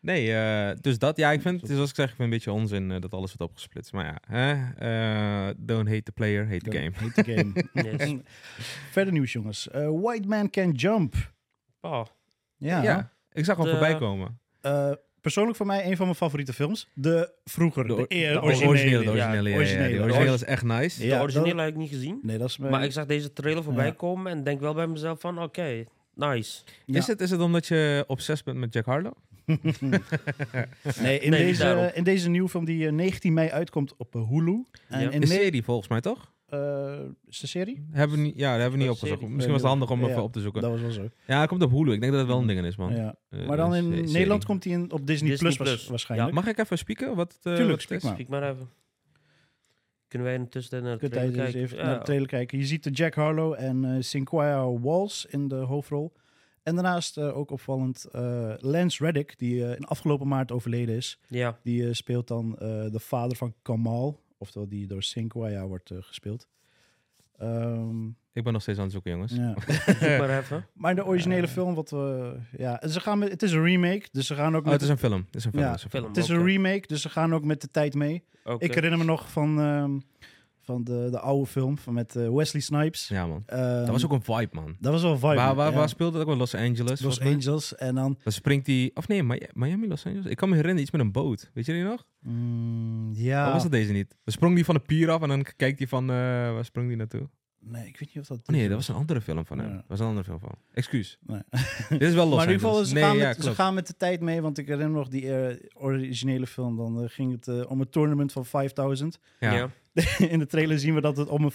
Speaker 7: Nee, eh, dus dat, ja, ik vind, het is zoals ik zeg, ik vind het een beetje onzin eh, dat alles wordt opgesplitst. Maar ja, hè? eh, don't hate the player, hate the game.
Speaker 6: Hate the game.
Speaker 7: (laughs)
Speaker 3: Yes.
Speaker 6: (laughs) Verder nieuws, jongens. Eh, White Man Can Jump.
Speaker 3: Oh,
Speaker 6: Ja.
Speaker 7: Ja, ik zag hem
Speaker 3: Eh,
Speaker 7: voorbij komen.
Speaker 6: Eh, persoonlijk voor mij een van mijn favoriete films. De vroeger, de,
Speaker 7: or-
Speaker 6: eer-
Speaker 3: de
Speaker 6: originele.
Speaker 7: originele, de
Speaker 3: Ja,
Speaker 7: originele, ja, ja,
Speaker 6: originele.
Speaker 7: die originele is echt nice.
Speaker 6: Ja,
Speaker 3: de originele
Speaker 6: dat-
Speaker 3: heb ik niet gezien.
Speaker 6: Nee, dat is mijn...
Speaker 3: Maar ik zag deze trailer voorbij
Speaker 6: Ja.
Speaker 3: komen en denk wel bij mezelf van, oké, nice.
Speaker 6: Ja.
Speaker 7: Is, het, is het omdat je obsessief bent met Jack Harlow?
Speaker 6: nee, in,
Speaker 3: Nee, niet daarom.
Speaker 6: deze, in deze nieuwe film die eh, 19 mei uitkomt op eh, Hulu. En
Speaker 3: Ja.
Speaker 6: in
Speaker 7: Een
Speaker 6: ne-
Speaker 7: serie volgens mij, toch?
Speaker 6: eh, is de serie?
Speaker 7: Hebben we niet, ja, dat hebben we niet
Speaker 3: Een
Speaker 7: opgezocht.
Speaker 3: serie.
Speaker 7: Misschien was het handig om
Speaker 6: Ja.
Speaker 7: even op te zoeken.
Speaker 6: Dat was wel zo.
Speaker 7: Ja, hij komt op Hulu. Ik denk dat het wel een ding is, man.
Speaker 6: Ja.
Speaker 7: Eh,
Speaker 6: Maar dan in
Speaker 7: een se-
Speaker 6: Nederland
Speaker 7: serie.
Speaker 6: komt hij in- op Disney,
Speaker 3: Disney
Speaker 6: Plus, waars-
Speaker 3: Plus.
Speaker 6: waarschijnlijk.
Speaker 7: Mag ik even spieken? Wat, het, eh,
Speaker 6: Tuurlijk,
Speaker 7: wat het
Speaker 6: spiek
Speaker 7: is?
Speaker 6: maar.
Speaker 3: Kijk maar even. Kunnen wij in de tussentijd naar de
Speaker 6: Kunt hij
Speaker 3: trailer
Speaker 6: dus
Speaker 3: kijken?
Speaker 6: even
Speaker 3: Ja.
Speaker 6: naar de trailer kijken. Je ziet de Jack Harlow en eh Cinquia Walls in de hoofdrol. En daarnaast eh, ook opvallend eh, Lance Reddick, die eh, in afgelopen maart overleden is.
Speaker 3: ja,
Speaker 6: Die eh, speelt dan eh, de vader van Kamal, oftewel die door Cinquia wordt eh, gespeeld.
Speaker 7: (laughs)
Speaker 6: Ehm,
Speaker 7: Ik ben nog steeds aan het zoeken, jongens.
Speaker 6: ja.
Speaker 3: zoek
Speaker 6: (laughs)
Speaker 3: maar even.
Speaker 6: Maar in de
Speaker 7: Eh.
Speaker 6: originele film, wat we, ja, en ze gaan met, het is een remake, dus ze gaan ook
Speaker 7: Oh,
Speaker 6: met,
Speaker 7: het is een film. Het is een film.
Speaker 6: Ja.
Speaker 7: het is een film.
Speaker 3: Film.
Speaker 6: het is een
Speaker 3: Oké.
Speaker 6: remake, dus ze gaan ook met de tijd mee.
Speaker 3: Oké.
Speaker 6: Ik herinner me nog van, ehm, van de, de oude film van met eh, Wesley Snipes.
Speaker 7: Ja, man.
Speaker 6: Ehm,
Speaker 7: Dat was ook een vibe, man.
Speaker 6: Dat was wel vibe.
Speaker 7: Waar, waar,
Speaker 6: ja.
Speaker 7: waar speelde dat ook wel? Los Angeles?
Speaker 6: Los
Speaker 7: volgens mij?
Speaker 6: Angeles en dan...
Speaker 7: Dan springt hij... Of nee, Mi- Miami, Los Angeles. Ik kan me herinneren iets met een boot. Weet je die nog?
Speaker 6: mm, ja...
Speaker 7: Of Oh, was dat deze niet? Dan sprong hij van de pier af en dan kijkt hij van... eh, waar sprong hij naartoe? Oh,
Speaker 6: Nee, ik weet niet of dat...
Speaker 7: nee, dat was een andere film van hem.
Speaker 6: Ja.
Speaker 7: Dat was een andere film van hem. Excuus.
Speaker 6: Nee.
Speaker 7: (laughs) Dit is wel Los
Speaker 6: maar in ieder geval,
Speaker 7: Angeles.
Speaker 6: ze,
Speaker 7: Nee,
Speaker 6: gaan
Speaker 7: ja,
Speaker 6: met, ze
Speaker 7: klopt.
Speaker 6: gaan met de tijd mee, want ik herinner me nog die eh, originele film. Dan eh, ging het eh, om een tournament van 5000.
Speaker 7: Ja.
Speaker 3: Ja.
Speaker 6: (laughs) in de trailer zien we dat het om een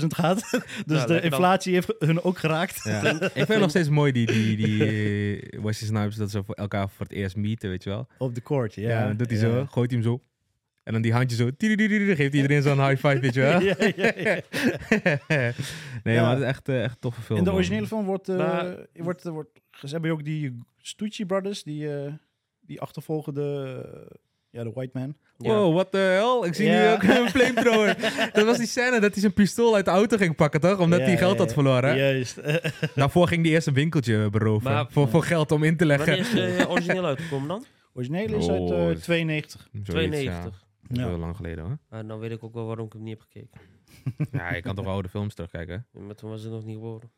Speaker 6: 500.000 gaat. (laughs) dus
Speaker 3: Nou,
Speaker 6: de
Speaker 3: lekker dan.
Speaker 6: inflatie heeft hun ook geraakt.
Speaker 7: Ja. Ik vind het nog steeds mooi, die, die, die eh, Wesley Snipes, dat ze voor elkaar voor het eerst meeten, weet je wel.
Speaker 6: Op de court, ja.
Speaker 7: Ja, dan doet hij
Speaker 6: Ja.
Speaker 7: zo, gooit hij hem zo. En dan die handje zo, tiridididi, geeft iedereen zo'n high five, weet je wel.
Speaker 6: (laughs) (laughs) Ja, ja, ja.
Speaker 7: (laughs) nee,
Speaker 6: Ja.
Speaker 7: maar het is echt, eh, echt een toffe film.
Speaker 6: In de
Speaker 7: man.
Speaker 6: originele film wordt, eh,
Speaker 3: Maar-
Speaker 6: wordt, wordt ze hebben ook die Stucci Brothers, die, eh, die achtervolgen de, eh, ja, de White Man.
Speaker 3: Ja.
Speaker 7: Wow, what the hell? Ik zie
Speaker 6: Ja.
Speaker 7: nu ook een flamethrower.
Speaker 6: (laughs)
Speaker 7: dat was die scène dat hij zijn pistool uit de auto ging pakken, toch? Omdat
Speaker 6: Ja,
Speaker 7: hij geld
Speaker 6: ja,
Speaker 7: had
Speaker 6: ja.
Speaker 7: verloren.
Speaker 6: Juist.
Speaker 7: Daarvoor ging hij eerst een winkeltje beroven.
Speaker 3: Maar-
Speaker 7: voor, voor geld om in te leggen.
Speaker 3: Wanneer is
Speaker 6: (laughs)
Speaker 3: de eh, origineel uitgekomen dan?
Speaker 6: Originele is uit eh,
Speaker 7: Oh, dat is-
Speaker 6: 92.
Speaker 7: Zoiets,
Speaker 3: 92.
Speaker 7: Ja. Dat is
Speaker 6: Ja.
Speaker 7: wel lang geleden hoor.
Speaker 3: Ah, dan weet ik ook wel waarom ik hem niet heb gekeken.
Speaker 7: (laughs) Ja, je kan toch wel oude films terugkijken?
Speaker 3: Maar toen was het nog niet geworden.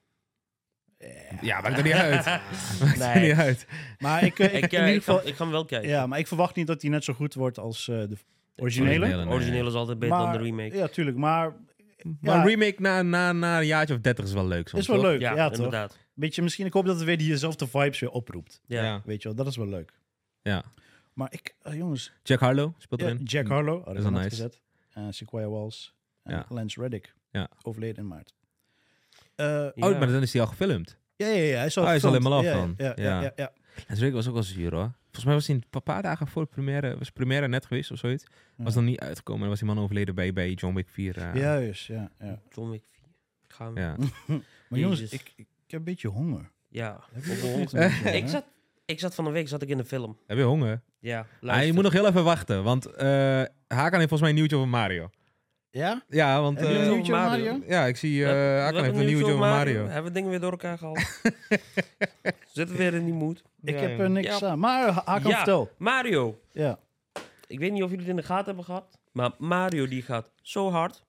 Speaker 7: Ja, maakt er niet uit. (laughs) Maakt er
Speaker 3: Nee.
Speaker 7: niet uit.
Speaker 6: Maar ik, eh, ik,
Speaker 3: (laughs) Ik,
Speaker 6: in
Speaker 3: eh,
Speaker 6: ieder
Speaker 3: ik,
Speaker 6: geval,
Speaker 3: kan, ik ga hem wel kijken.
Speaker 6: ja, maar ik verwacht niet dat die net zo goed wordt als eh, de originele.
Speaker 7: nee.
Speaker 3: De origineel is altijd beter dan
Speaker 6: Maar,
Speaker 3: de remake.
Speaker 6: ja, tuurlijk. Maar, ja,
Speaker 7: Maar een remake na, na, na een jaartje of 30 is wel leuk soms,
Speaker 6: is wel
Speaker 7: toch?
Speaker 6: leuk. Ja, toch?
Speaker 3: inderdaad.
Speaker 6: Beetje, misschien, ik hoop dat het weer diezelfde vibes weer oproept.
Speaker 3: Ja.
Speaker 7: Ja.
Speaker 6: Weet je wel, dat is wel leuk.
Speaker 7: Ja.
Speaker 6: Maar ik, eh, jongens,
Speaker 7: Jack Harlow speelt
Speaker 6: ja,
Speaker 7: erin.
Speaker 6: Jack Harlow, oh, dat
Speaker 7: is
Speaker 6: is
Speaker 7: wel
Speaker 6: nice.
Speaker 7: nice.
Speaker 6: gezet. En Sequoia Walls en
Speaker 7: Ja.
Speaker 6: Lance Reddick.
Speaker 7: Ja.
Speaker 6: Overleden in maart. Eh,
Speaker 3: Ja.
Speaker 7: Oh, maar dan is hij al gefilmd.
Speaker 6: ja, ja, ja, hij is al
Speaker 7: Oh, hij is
Speaker 6: gefilmd.
Speaker 7: al helemaal
Speaker 6: ja,
Speaker 7: af dan.
Speaker 6: Ja, ja,
Speaker 7: Ja.
Speaker 6: ja. ja, ja.
Speaker 7: En Drake was ook wel zuur hoor. Volgens mij was hij een paar dagen voor de première, was de première net geweest of zoiets. Was dan niet uitgekomen en was die man overleden bij, bij John Wick 4. eh.
Speaker 6: Juist, ja, ja.
Speaker 3: John Wick 4. Ik ga hem... Ja.
Speaker 7: Ja.
Speaker 6: Maar jongens, ik,
Speaker 3: Jezus.
Speaker 6: ik heb een beetje honger.
Speaker 3: Op de hond. (laughs) ik, zat, ik zat van de week zat ik in de film.
Speaker 7: Heb je
Speaker 6: (laughs)
Speaker 7: honger?
Speaker 3: Ja,
Speaker 7: Ah, je
Speaker 3: luister.
Speaker 7: moet nog heel even wachten, want eh Hakan heeft volgens mij een nieuwtje over Mario.
Speaker 6: Ja?
Speaker 7: Ja, want...
Speaker 6: Heb je
Speaker 7: eh,
Speaker 6: een
Speaker 3: nieuw-
Speaker 6: nieuwtje,
Speaker 3: Mario.
Speaker 6: Mario?
Speaker 7: ja, ik zie eh
Speaker 3: We hebben- we
Speaker 7: Hakan heeft
Speaker 3: hebben
Speaker 7: een nieuwtje over Mario.
Speaker 3: Hebben we dingen weer door
Speaker 7: (laughs)
Speaker 3: elkaar gehaald. Zitten we weer in die mood.
Speaker 6: Ik
Speaker 7: Ja,
Speaker 6: heb
Speaker 7: ja.
Speaker 6: er niks
Speaker 3: Ja.
Speaker 6: aan. Maar Ha- Hakan,
Speaker 3: Ja.
Speaker 6: vertel.
Speaker 3: Mario.
Speaker 6: Ja.
Speaker 3: Ik weet niet of jullie het in de gaten hebben gehad. Maar Mario die gaat zo hard.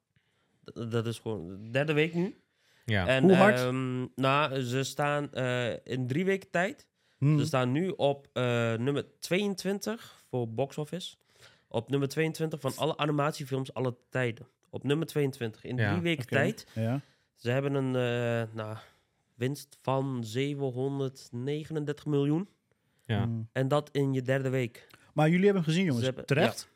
Speaker 3: D- dat is gewoon de derde week nu.
Speaker 7: Ja.
Speaker 3: En,
Speaker 6: Hoe hard?
Speaker 3: ehm, nou, ze staan eh, in drie weken tijd.
Speaker 6: Hm.
Speaker 3: Ze staan nu op eh, nummer 22 voor box office. Op nummer 22 van alle animatiefilms alle tijden. Op nummer 22. In
Speaker 7: Ja,
Speaker 3: drie weken
Speaker 6: oké.
Speaker 3: tijd.
Speaker 6: Ja.
Speaker 3: Ze hebben een eh, nou, winst van 739 miljoen.
Speaker 7: Ja.
Speaker 6: Hm.
Speaker 3: En dat in je derde week.
Speaker 6: Maar jullie hebben hem gezien, jongens.
Speaker 3: Ze hebben-
Speaker 6: Terecht?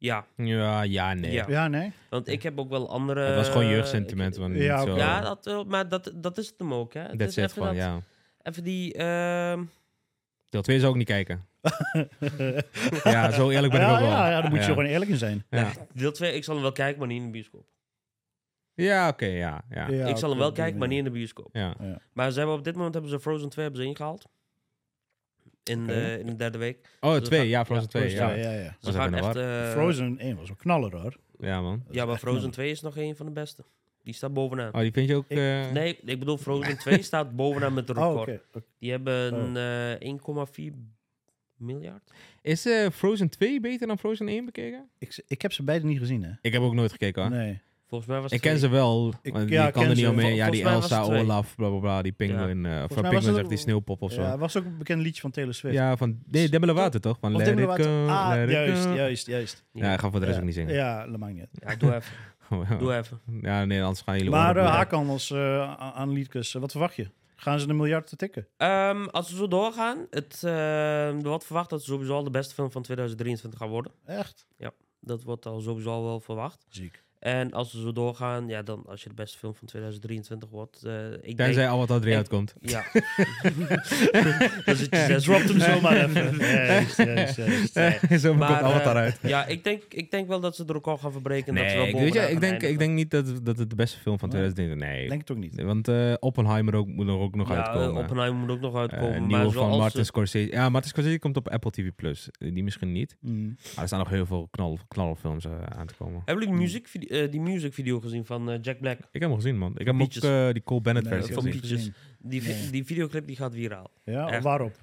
Speaker 3: Ja,
Speaker 7: ja, ja, nee.
Speaker 3: Ja.
Speaker 6: Ja, nee.
Speaker 3: want ik heb ook wel andere... eh,
Speaker 7: Het was gewoon
Speaker 3: ik-
Speaker 7: jeugdsentiment. want
Speaker 6: Ja,
Speaker 7: niet
Speaker 6: oké.
Speaker 7: zo-
Speaker 3: Ja, dat, wel, maar dat, dat is het hem ook, hè. Het
Speaker 7: That's
Speaker 3: is
Speaker 7: it
Speaker 3: even
Speaker 7: gewoon,
Speaker 3: dat-
Speaker 7: ja.
Speaker 3: Even die... ehm,
Speaker 7: Deel 2 zou ik niet kijken.
Speaker 6: (laughs)
Speaker 7: ja, zo eerlijk ben ik
Speaker 6: ja,
Speaker 7: ook wel.
Speaker 6: ja, ja, daar moet je gewoon eerlijk in zijn.
Speaker 7: Ja,
Speaker 3: Deel 2, ik zal hem wel kijken, maar niet in de bioscoop.
Speaker 7: Ja, oké, ja, ja.
Speaker 6: Ja,
Speaker 3: ik zal
Speaker 6: oké,
Speaker 3: hem wel
Speaker 6: op die
Speaker 3: kijken, maar niet
Speaker 6: manier.
Speaker 3: in de bioscoop.
Speaker 7: ja.
Speaker 3: Maar ze hebben op dit moment hebben ze Frozen 2 hebben ze ingehaald. In,
Speaker 6: Oké.
Speaker 3: de, in de derde week.
Speaker 7: Oh,
Speaker 3: Dus we
Speaker 7: twee,
Speaker 3: gaan-
Speaker 7: ja, Frozen
Speaker 3: ja,
Speaker 7: 2,
Speaker 6: Ja,
Speaker 7: ja.
Speaker 6: ja, ja.
Speaker 3: Ze
Speaker 7: Was even
Speaker 3: gaan
Speaker 7: in de
Speaker 3: echt... eh,
Speaker 6: Frozen 1 was een knaller, hoor.
Speaker 7: (laughs) Ja, man.
Speaker 3: Ja, maar
Speaker 6: echt
Speaker 3: Frozen
Speaker 6: knap.
Speaker 3: 2 is nog een van de beste. Die staat bovenaan.
Speaker 7: Oh, die vind je ook... eh,
Speaker 3: Nee, ik bedoel,
Speaker 7: (laughs)
Speaker 3: Frozen 2 staat bovenaan met de
Speaker 6: Oh,
Speaker 3: record.
Speaker 6: oké. Oh.
Speaker 3: Die hebben eh 1,4 miljard.
Speaker 7: Is eh, Frozen 2 beter dan Frozen 1 bekeken?
Speaker 6: Ik, ik heb ze beide niet gezien, hè?
Speaker 7: Ik heb ook nooit gekeken, hoor.
Speaker 6: Nee.
Speaker 3: Volgens mij was
Speaker 7: Ik
Speaker 3: het
Speaker 7: ken ze wel,
Speaker 6: Ik-
Speaker 7: want
Speaker 6: ja,
Speaker 7: je kan
Speaker 6: ken
Speaker 7: er niet
Speaker 6: ze.
Speaker 7: omheen.
Speaker 3: Vol-
Speaker 7: Ja, die
Speaker 3: volgens
Speaker 7: Elsa,
Speaker 3: mij was het twee.
Speaker 7: Olaf, bla bla bla, die Penguin. eh, Of
Speaker 6: mij was
Speaker 7: Penguin
Speaker 6: het
Speaker 7: zegt die
Speaker 6: ook-
Speaker 7: sneeuwpop of zo.
Speaker 6: Ja, was ook een bekend liedje van Taylor Swift.
Speaker 7: Ja, van nee, Demi Lovato toch? Van
Speaker 6: Of
Speaker 7: Let
Speaker 6: Demi
Speaker 7: It
Speaker 6: Lovato.
Speaker 7: Go,
Speaker 6: Ah,
Speaker 7: Let It
Speaker 6: juist,
Speaker 7: Go.
Speaker 6: juist, juist.
Speaker 7: Ja, ik ga voor de rest ook niet zingen.
Speaker 6: Ja, dat maakt niet uit.
Speaker 3: Ja, doe even.
Speaker 7: (laughs)
Speaker 3: Doe even.
Speaker 7: Ja, nee, anders gaan jullie
Speaker 6: Maar
Speaker 7: oren
Speaker 6: eh,
Speaker 7: bloeden.
Speaker 6: Hakan als eh, a- analyticus, eh, wat verwacht je? Gaan ze een miljard te tikken?
Speaker 3: Ehm, als we zo doorgaan, het, eh, er wordt verwacht dat het sowieso al de beste film van 2023 gaat worden.
Speaker 6: Echt?
Speaker 3: Dat wordt al sowieso al wel verwacht.
Speaker 6: Ziek.
Speaker 3: En als we zo doorgaan, ja, dan als je de beste film van 2023 wordt, eh, ik denk...
Speaker 7: Tenzij al wat dat eruit
Speaker 3: Ik-
Speaker 7: komt.
Speaker 3: Ja. (laughs) dan zit je zes
Speaker 6: Drop hem (laughs) zomaar even. Juist, juist, juist.
Speaker 7: (laughs) Zo komt al wat
Speaker 3: eh,
Speaker 7: daaruit.
Speaker 3: ja, ik denk, ik denk wel dat ze de record gaan verbreken. en dat ze wel
Speaker 7: Nee, ik, weet je,
Speaker 3: bovenaan
Speaker 7: ik,
Speaker 3: gaan
Speaker 7: denk, ik
Speaker 3: eindigen.
Speaker 7: denk niet dat, dat het de beste film van 2023 Nee.
Speaker 6: Denk het ook niet.
Speaker 7: Want eh, Oppenheimer ook, moet er ook nog
Speaker 3: ja,
Speaker 7: uitkomen.
Speaker 3: eh, Oppenheimer moet ook nog
Speaker 7: Eh,
Speaker 3: uitkomen.
Speaker 7: een
Speaker 3: maar
Speaker 7: nieuwe van
Speaker 3: zoals
Speaker 7: Martin
Speaker 3: ze-
Speaker 7: Scorsese. Ja, Martin Scorsese komt op Apple TV+. Plus. Eh, Die misschien niet.
Speaker 6: Mm.
Speaker 7: Maar er staan nog heel veel knal, knalfilms eh, aan te komen.
Speaker 3: Hebben jullie muziekvide- eh, die musicvideo gezien van eh, Jack Black?
Speaker 7: Ik heb hem gezien, man. Ik heb hem ook
Speaker 3: Peaches.
Speaker 7: eh, die Cole Bennett
Speaker 6: Nee,
Speaker 7: versie
Speaker 6: dat
Speaker 3: van
Speaker 7: gezien.
Speaker 6: heb ik niet
Speaker 3: Peaches.
Speaker 6: gezien.
Speaker 3: Die, vi-
Speaker 6: Nee.
Speaker 3: die videoclip die gaat viraal.
Speaker 6: Ja,
Speaker 3: Echt.
Speaker 6: waarop?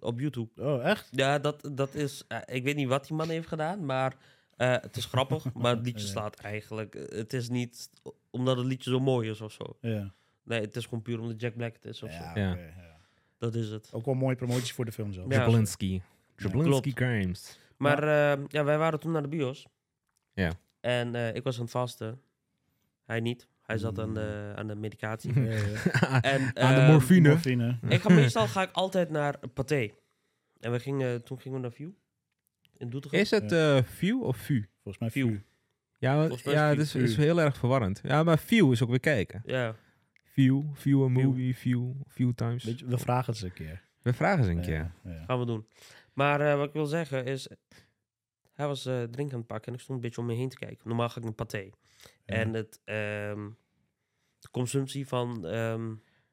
Speaker 3: Op YouTube.
Speaker 6: Oh, echt?
Speaker 3: Ja, dat, dat is... eh, ik weet niet wat die man heeft gedaan, maar eh, het is
Speaker 7: (laughs)
Speaker 3: grappig. maar het liedje
Speaker 6: Ja.
Speaker 3: slaat eigenlijk... eh, Het is niet omdat het liedje zo mooi is of zo.
Speaker 6: Ja.
Speaker 3: Nee, het is gewoon puur omdat Jack Black het is of zo.
Speaker 6: Ja,
Speaker 7: Ja.
Speaker 6: oké, ja.
Speaker 3: Dat is het.
Speaker 6: Ook wel mooie promoties voor de film zelf.
Speaker 3: Ja.
Speaker 7: Jablinski. Jablinski
Speaker 3: Klopt.
Speaker 7: Games.
Speaker 3: Maar eh, ja, wij waren toen naar de bios.
Speaker 7: Ja.
Speaker 3: En eh, ik was aan het vasten. Hij niet. Hij zat aan de, aan de
Speaker 7: (laughs)
Speaker 3: medicatie.
Speaker 6: Ja, ja, ja.
Speaker 3: en,
Speaker 7: Mm. Aan de
Speaker 3: ehm,
Speaker 7: morfine.
Speaker 6: Morfine.
Speaker 3: Ik
Speaker 7: (laughs)
Speaker 3: ga meestal ga ik altijd naar Pathé. En we gingen, toen gingen we naar View. In
Speaker 7: (laughs)
Speaker 3: Doetinchem.
Speaker 7: Is het eh, View of View?
Speaker 6: Volgens mij
Speaker 3: View.
Speaker 6: View.
Speaker 7: Ja, want-
Speaker 3: Volgens mij is
Speaker 7: ja
Speaker 3: View.
Speaker 7: dat is, is
Speaker 6: View.
Speaker 7: heel erg verwarrend. Ja, maar View is ook weer kijken.
Speaker 3: Ja.
Speaker 7: View, View a
Speaker 3: View.
Speaker 7: movie, View, View times.
Speaker 6: Weet je, we vragen het ze een keer.
Speaker 7: We vragen ze een
Speaker 3: Eh,
Speaker 7: keer.
Speaker 6: Ja, ja.
Speaker 3: Gaan we doen. Maar eh, wat ik wil zeggen is... Hij was eh drinken aan het pakken en ik stond een beetje om me heen te kijken. Normaal ga ik naar Pathé. En het, ehm, de consumptie van ehm,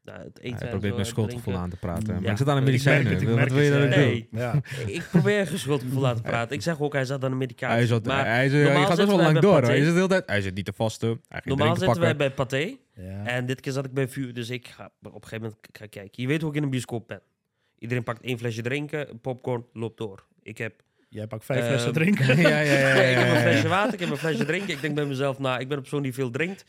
Speaker 3: nou, het eten
Speaker 7: Hij probeert
Speaker 3: en zo
Speaker 7: mijn
Speaker 3: en
Speaker 7: schuldgevoel
Speaker 3: drinken.
Speaker 7: aan te praten. Maar
Speaker 3: Ja.
Speaker 7: ik zit aan de
Speaker 3: Ik merk
Speaker 7: medicijnen.
Speaker 6: het, ik
Speaker 7: Wat
Speaker 6: merk
Speaker 7: wil je nou
Speaker 6: het,
Speaker 7: dat ik
Speaker 3: ja.
Speaker 7: doe?
Speaker 6: Ja.
Speaker 3: Nee. Ik
Speaker 7: (laughs)
Speaker 3: probeer geschuldgevoel laten praten. Ik zeg ook, hij zat aan de medicatie.
Speaker 7: Hij, zat,
Speaker 3: maar
Speaker 7: hij, zat- hij
Speaker 3: normaal
Speaker 7: gaat best
Speaker 3: zitten
Speaker 7: wel
Speaker 3: wij
Speaker 7: lang
Speaker 3: bij
Speaker 7: door. hoor.
Speaker 3: Pathé.
Speaker 7: Hij zit, de hele tijd, hij zit niet te vasten. Hij ging
Speaker 3: normaal
Speaker 7: drinken
Speaker 3: zitten
Speaker 7: pakken.
Speaker 3: wij bij Pathé.
Speaker 6: (laughs) Ja.
Speaker 3: En dit keer zat ik bij vuur, dus ik ga op een gegeven moment k- gaan kijken. Je weet hoe ik in een bioscoop ben. Iedereen pakt één flesje drinken, popcorn, loopt door. Ik heb,
Speaker 6: Jij pakt vijf
Speaker 3: Ehm,
Speaker 6: flessen drinken. (laughs)
Speaker 7: (laughs) ja, ja, ja, ja,
Speaker 3: ik heb
Speaker 7: ja,
Speaker 3: een
Speaker 7: ja.
Speaker 3: flesje water, ik heb een flesje drinken. Ik denk bij mezelf, nou, ik ben een persoon die veel drinkt.